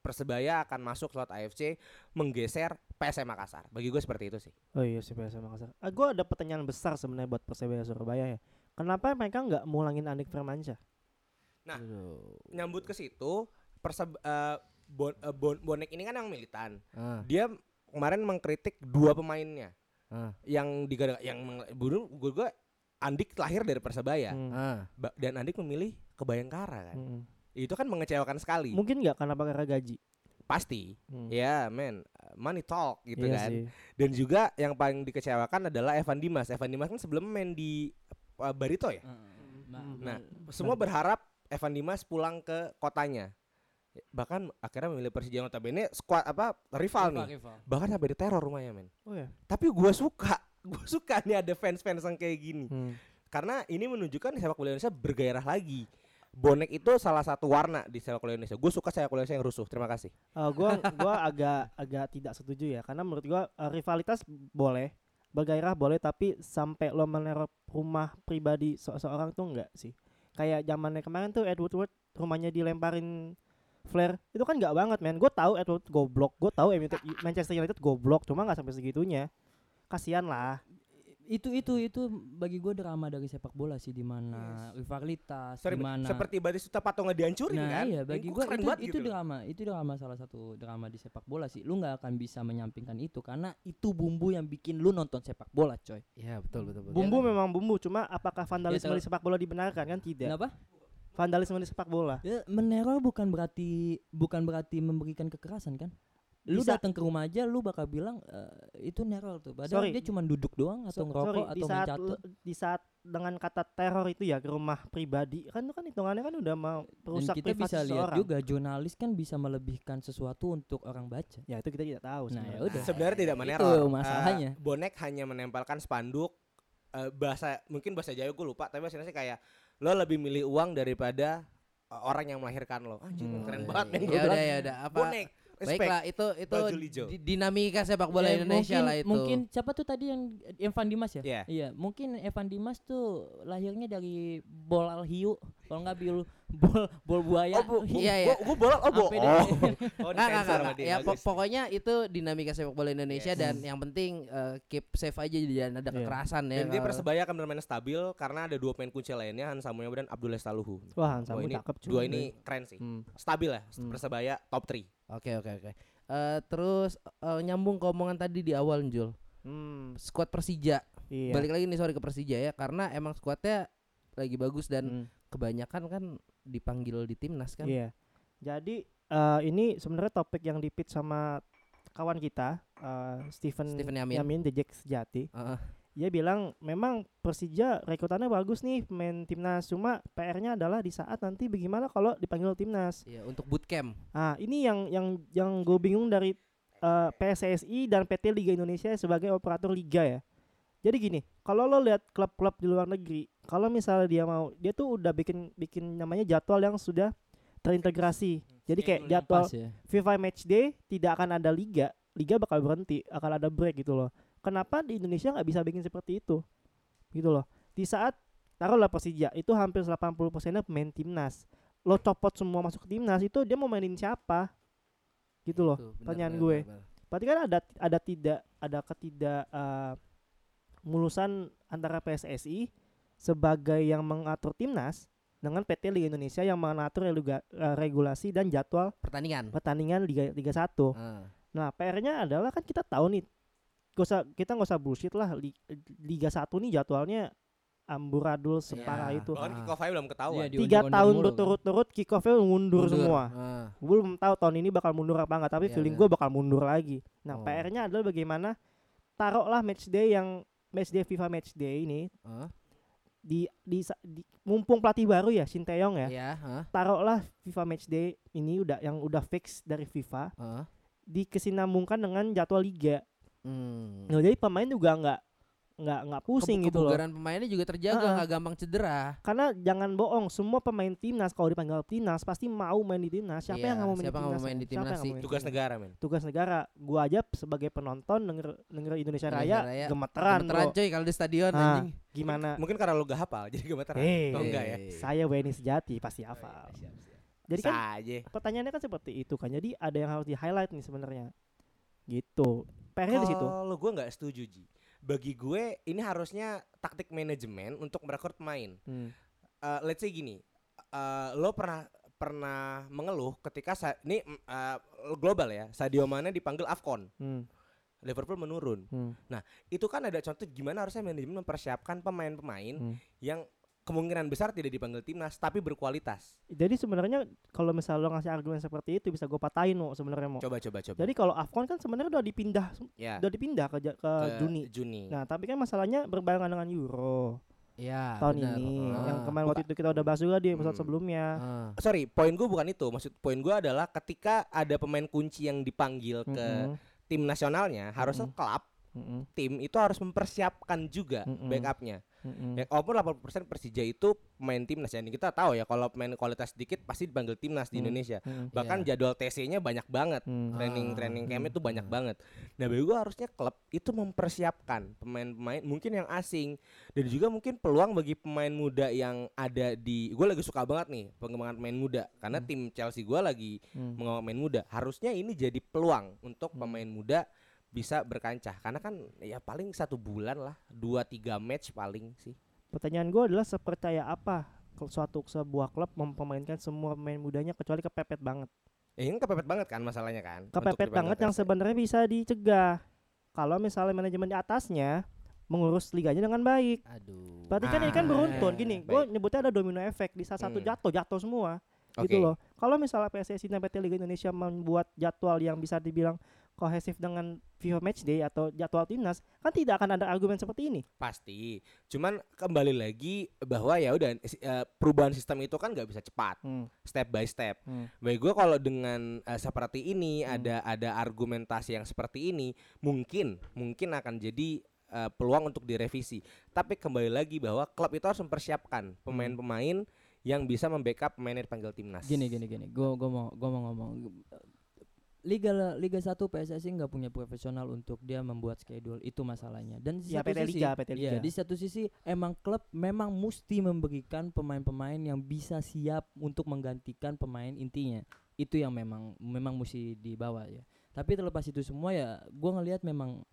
Persebaya akan masuk slot AFC menggeser PSM Makassar. Bagi gue seperti itu sih. Oh iya sih PSM Makassar. Ah, gue ada pertanyaan besar sebenarnya buat Persebaya Surabaya ya. Kenapa mereka nggak mulangin Andik Firmansyah? Nah, Nyambut ke situ Perseb eh, Bon- eh, Bon- bonek ini kan yang militan. Ah, Dia kemarin mengkritik dua pemainnya Ah. yang digadang yang meng- bunuh gue gue Andik lahir dari Persebaya. Hmm. ah. Ba- dan Andik memilih ke Bayangkara kan. Mm-mm. Itu kan mengecewakan sekali. Mungkin nggak karena karena gaji. Pasti. Hmm. Ya, men. Money talk gitu Iya kan. sih. Dan juga yang paling dikecewakan adalah Evan Dimas. Evan Dimas kan sebelum main di uh, Barito ya. Hmm. Nah, semua berharap Evan Dimas pulang ke kotanya. Bahkan akhirnya memilih Persija yang notabene squad apa rival nih. Bahkan sampai diteror rumahnya, men. Oh ya. Tapi gua suka. Gua suka nih ada fans-fans yang kayak gini. Hmm. karena ini menunjukkan sepak bola Indonesia bergairah lagi. Bonek itu salah satu warna di sepak bola Indonesia. Gue suka sepak bola Indonesia yang rusuh. Terima kasih. Eh, gua gua agak agak tidak setuju ya karena menurut gua eh, rivalitas boleh, bergairah boleh tapi sampai lo meneror rumah pribadi se- seorang tuh enggak sih. Kayak zamannya kemarin tuh Edward Wood rumahnya dilemparin flare itu kan nggak banget men gue tahu Edward goblok gue tahu MU- Manchester United goblok cuma nggak sampai segitunya kasihan lah itu itu itu bagi gue drama dari sepak bola sih di mana rivalitas Sorry, di mana seperti Badis itu patungnya dihancurin nah kan? iya Ini bagi gua gue keren itu, banget itu gitu loh. drama itu drama salah satu drama di sepak bola sih lu nggak akan bisa menyampingkan itu karena itu bumbu yang bikin lu nonton sepak bola coy Ya, betul betul betul. bumbu memang bumbu cuma apakah vandalisme kalau- di sepak bola dibenarkan kan tidak kenapa vandalisme di sepak bola Ya, meneror bukan berarti bukan berarti memberikan kekerasan kan lu Bisa. datang ke rumah aja lu bakal bilang "Eh, itu neror tuh Sorry. padahal dia cuma duduk doang atau So- ngerokok sorry, di atau saat mencatat le- di saat dengan kata teror itu ya ke rumah pribadi kan itu kan hitungannya kan udah mau dan perusak kita privasi bisa lihat seseorang. juga jurnalis kan bisa melebihkan sesuatu untuk orang baca ya itu kita tidak tahu Nah, sebenarnya. yaudah. Sebenarnya tidak Itu meneror. Eh, masalahnya. bonek hanya menempelkan spanduk eh, bahasa mungkin bahasa Jawa gue lupa, tapi bahasa Indonesia kayak lo lebih milih uang daripada eh, orang yang melahirkan lo. Anjing Hmm. keren Oh, banget men. iya. Gua Ya udah bilang, ya udah apa? Bonek. Respect. Baiklah, itu itu Baju hijau. di- dinamika sepak bola Ya, Indonesia mungkin, lah itu. Mungkin siapa tuh tadi yang Evan Dimas ya? Iya. Iya, mungkin Evan Dimas tuh lahirnya dari bol al hiu, kalau nggak bil bol bol buaya. Oh, bu, bu, Iya, iya. gua, gua bola oh, bu. Sampai Oh. dia- Oh, Nggak, nggak, disensor nggak, sama nggak. dia, Ya, po- bagus. pokoknya itu dinamika sepak bola Indonesia Yes. dan yang penting eh, keep safe aja jangan ada Iya. kekerasan ya. Intinya kalau- Persebaya akan bermain stabil karena ada dua pemain kunci lainnya Hansa Muyama dan Abdullah Staluhu. wah Dua Hansamu ini, cakep cuy. dua ini keren sih. Hmm. Stabil lah Hmm. Persebaya top 3. Oke oke oke. Eh, terus eh, nyambung ke omongan tadi di awal Jul. Hmm, Skuad Persija. iya. Balik lagi nih sorry ke Persija ya karena emang skuadnya lagi bagus dan Hmm, kebanyakan kan dipanggil di timnas kan. iya. Jadi eh, ini sebenarnya topik yang dipit sama kawan kita eh, Steven Steven Yamin. Yamin The Jack Sejati. Heeh. Dia bilang memang Persija rekrutannya bagus nih pemain timnas cuma PR-nya adalah di saat nanti bagaimana kalau dipanggil timnas. Iya, untuk bootcamp. Ah, ini yang yang yang gue bingung dari eh, PSSI dan PT Liga Indonesia sebagai operator liga ya. Jadi gini, kalau lo lihat klub-klub di luar negeri, kalau misalnya dia mau, dia tuh udah bikin bikin namanya jadwal yang sudah terintegrasi. Jadi kayak Schedule yang jadwal pas ya. FIFA Match Day tidak akan ada liga, liga bakal berhenti, akan ada break gitu loh. Kenapa di Indonesia nggak bisa bikin seperti itu? Gitu loh. Di saat taruhlah Persija itu hampir 80%-nya pemain timnas. Lo copot semua masuk ke timnas itu dia mau mainin siapa? Gitu loh. Tuh, benar, pertanyaan benar, gue. benar, benar. Berarti kan ada ada tidak ada ketidak eh, mulusan antara PSSI sebagai yang mengatur timnas dengan PT Liga Indonesia yang mengatur reluga- eh, regulasi dan jadwal Pertandingan. pertandingan Liga Liga 1. Ah. Nah, PR-nya adalah kan kita tahu nih, gak usah, kita nggak usah bullshit lah. Li- Liga 1 nih jadwalnya amburadul separah Ya. itu. Bahkan kick off aja belum ketahuan. Iya, Tiga diundi-undi tahun mulu. berturut-turut kick off-nya mundur, semua. Ah, Gue belum tahu tahun ini bakal mundur apa enggak, tapi Iya, feeling iya. gue bakal mundur lagi. Nah, Oh. PR-nya adalah bagaimana taruhlah match day yang match day FIFA match day ini ah. di, di, di mumpung pelatih baru ya Sinteyong ya. Iya, ah, Taruhlah FIFA match day ini udah yang udah fix dari FIFA ah. dikesinambungkan dengan jadwal liga. Hmm. Nah, jadi pemain juga nggak nggak nggak pusing Kebu- gitu loh. kebugaran pemainnya juga terjaga, Ah, ah. nggak gampang cedera. Karena jangan bohong, semua pemain timnas kalau dipanggil timnas pasti mau main di timnas. Siapa Iya, yang nggak mau main siapa di nggak mau timnas? ya? main di Siapa yang timnas nggak sih? mau main di Tugas timnas? negara men. Tugas negara. Gua aja sebagai penonton denger denger Indonesia Indonesia, Raya, Raya, gemeteran, Gemeteran bro. coy kalau di stadion Ah. iya, anjing. Gimana? Mungkin karena lu gak hafal jadi gemeteran. Hey. Oh enggak ya. Iya. Saya WNI sejati pasti hafal. Jadi kan Saja. pertanyaannya kan seperti itu kan. Jadi ada yang harus di highlight nih sebenarnya. Gitu. PR-nya di situ. Kalau gue nggak setuju Ji. Bagi gue ini harusnya taktik manajemen untuk merekrut pemain. Hmm. Eh, let's say gini, eh, lo pernah pernah mengeluh ketika sa- ini mm, eh, global ya, Sadio Mane dipanggil Afcon, Hmm. Liverpool menurun. Hmm. Itu kan ada contoh gimana harusnya manajemen mempersiapkan pemain-pemain Hmm. yang kemungkinan besar tidak dipanggil timnas tapi berkualitas. Jadi sebenarnya kalau misalnya lo ngasih argumen seperti itu bisa gue patahin Mo, sebenarnya mau. Coba coba coba. Oh. Jadi kalau Afcon kan sebenarnya udah dipindah ya. udah dipindah ke, Ja- ke ke Juni. Nah, tapi kan masalahnya berbarengan dengan Euro Iya. tahun benar. ini. Ah. Yang kemarin waktu itu kita udah bahas juga di episode Hmm. sebelumnya. Ah. Sorry, poin gue bukan itu. Maksud poin gue adalah ketika ada pemain kunci yang dipanggil ke Mm-mm, tim nasionalnya, harusnya klub mm-mm, tim itu harus mempersiapkan juga Mm-mm. backupnya. mm-mm. Ya, walaupun 80% Persija itu pemain timnas ya. Ini kita tahu ya kalau pemain kualitas sedikit pasti dipanggil timnas di Hmm. Indonesia. Mm-mm, Bahkan jadwal TC-nya banyak banget. Ah. mm. Training training camp Hmm. itu banyak banget. Nah, bagi gue harusnya klub itu mempersiapkan pemain-pemain mungkin yang asing dan juga mungkin peluang bagi pemain muda yang ada di gue lagi suka banget nih pengembangan pemain muda karena tim Chelsea gue lagi Hmm. mengawal pemain muda. Harusnya ini jadi peluang untuk Hmm. pemain muda bisa berkancah karena kan ya paling satu bulan lah dua tiga match paling sih Pertanyaan gue adalah sepercaya apa kalau suatu sebuah klub mempermainkan semua pemain mudanya kecuali kepepet banget. Eh, ini kepepet banget kan masalahnya kan untuk Kepepet dipanggil banget yang tes. sebenarnya bisa dicegah. Kalau misalnya manajemen di atasnya mengurus liganya dengan baik. Aduh. Berarti kan ini kan Ah, beruntun iya, gini. baik. Gue nyebutnya ada domino efek di saat satu Hmm. jatuh jatuh semua. Oke. gitu loh. Kalau misalnya PSSI dan PT Liga Indonesia membuat jadwal yang bisa dibilang kohesif dengan FIFA Matchday atau jadwal timnas, kan tidak akan ada argumen seperti ini. pasti cuman kembali lagi bahwa ya udah si- eh, perubahan sistem itu kan nggak bisa cepat step by step Hmm. bagi gue kalau dengan eh, seperti ini Hmm. ada ada argumentasi yang seperti ini mungkin mungkin akan jadi eh, peluang untuk direvisi tapi kembali lagi bahwa klub itu harus mempersiapkan pemain-pemain yang bisa membackup pemain yang dipanggil timnas Gini gini gini. Gua gua mau gua mau ngomong. Liga Liga 1 PSSI nggak punya profesional untuk dia membuat schedule itu masalanya. Dan di Ya, satu PT sisi, Liga, PT iya, Liga. di satu sisi emang klub memang mesti memberikan pemain-pemain yang bisa siap untuk menggantikan pemain intinya. Itu yang memang memang mesti dibawa ya. Tapi terlepas itu semua ya, gua ngelihat memang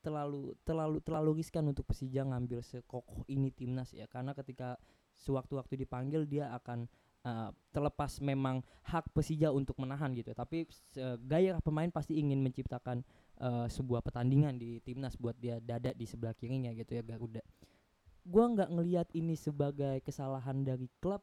terlalu terlalu terlalu riskan untuk Persija ngambil sekokoh ini timnas ya karena ketika sewaktu-waktu dipanggil dia akan eh, terlepas memang hak Persija untuk menahan gitu tapi se- gaya pemain pasti ingin menciptakan eh, sebuah pertandingan di timnas buat dia dada di sebelah kirinya gitu ya Garuda gua nggak ngelihat ini sebagai kesalahan dari klub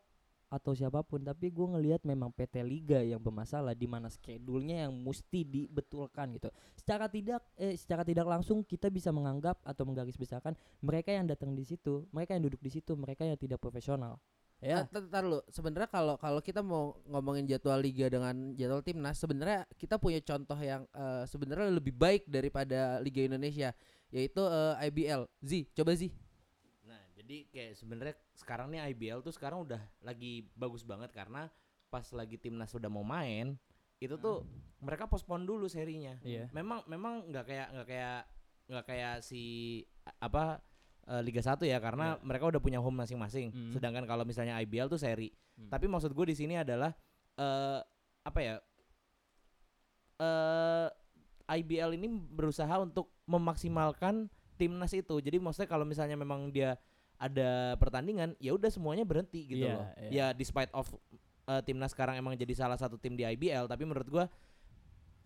atau siapapun tapi gua ngelihat memang PT Liga yang bermasalah di mana schedule-nya yang mesti dibetulkan gitu secara tidak eh, secara tidak langsung kita bisa menganggap atau menggarisbesarkan mereka yang datang di situ, mereka yang duduk di situ, mereka yang tidak profesional. Ya, Ya, ntar lu. Sebenarnya kalau kalau kita mau ngomongin jadwal liga dengan jadwal timnas, sebenarnya kita punya contoh yang eh, sebenarnya lebih baik daripada Liga Indonesia, yaitu eh, IBL. Z, coba Z. Nah, jadi kayak sebenarnya sekarang nih IBL tuh sekarang udah lagi bagus banget karena pas lagi timnas udah mau main, itu tuh mereka postpone dulu serinya. Iya. Memang memang nggak kayak nggak kayak nggak kayak si a- apa eh, Liga 1 ya karena Iya. mereka udah punya home masing-masing. Mm. Sedangkan kalau misalnya IBL tuh seri. Mm. Tapi maksud gue di sini adalah eh apa ya? eh IBL ini berusaha untuk memaksimalkan timnas itu. Jadi maksudnya kalau misalnya memang dia ada pertandingan, ya udah semuanya berhenti gitu Iya, loh. iya. Ya despite of eh, timnas sekarang emang jadi salah satu tim di IBL, tapi menurut gua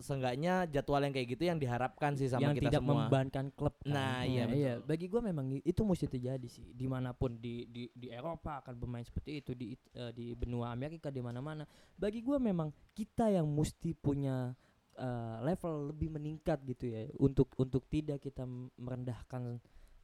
seenggaknya jadwal yang kayak gitu yang diharapkan sih sama yang kita tidak semua. membebankan klub. kan. Nah, iya, Bagi gue memang i- itu mesti terjadi sih. Dimanapun di di di Eropa akan bermain seperti itu di It- eh, di benua Amerika di mana-mana. Bagi gue memang kita yang mesti punya eh, level lebih meningkat gitu ya untuk untuk tidak kita m- merendahkan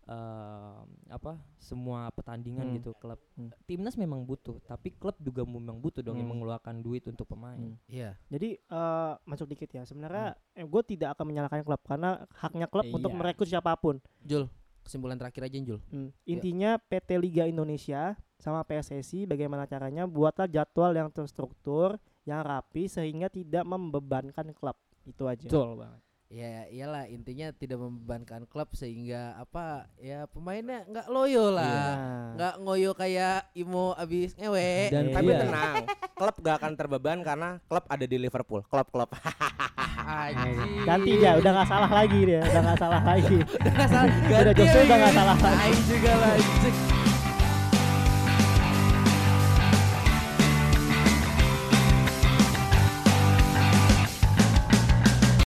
eh, apa semua pertandingan Hmm. gitu klub Hmm. timnas memang butuh tapi klub juga memang butuh dong yang Hmm. mengeluarkan duit untuk pemain Hmm. Iya. Jadi eh, masuk dikit ya. Sebenarnya Hmm. eh, gue tidak akan menyalahkan klub karena haknya klub untuk Iya. merekrut siapapun. Jul, kesimpulan terakhir aja Jul. Hmm. Intinya PT Liga Indonesia sama PSSI bagaimana caranya buatlah jadwal yang terstruktur, yang rapi sehingga tidak membebankan klub. Itu aja. betul banget Ya iyalah intinya tidak membebankan klub sehingga apa ya pemainnya nggak loyo lah. Nah, Nggak ngoyo kayak Imo abis ngewe. Dan Tapi Iya. tenang, klub gak akan terbeban karena klub ada di Liverpool. Klub-klub. Iya. Anjing. Ganti ya, udah nggak salah lagi dia, udah nggak salah lagi. Nggak salah. Udah Jose udah nggak salah lagi. Aing juga lanjut.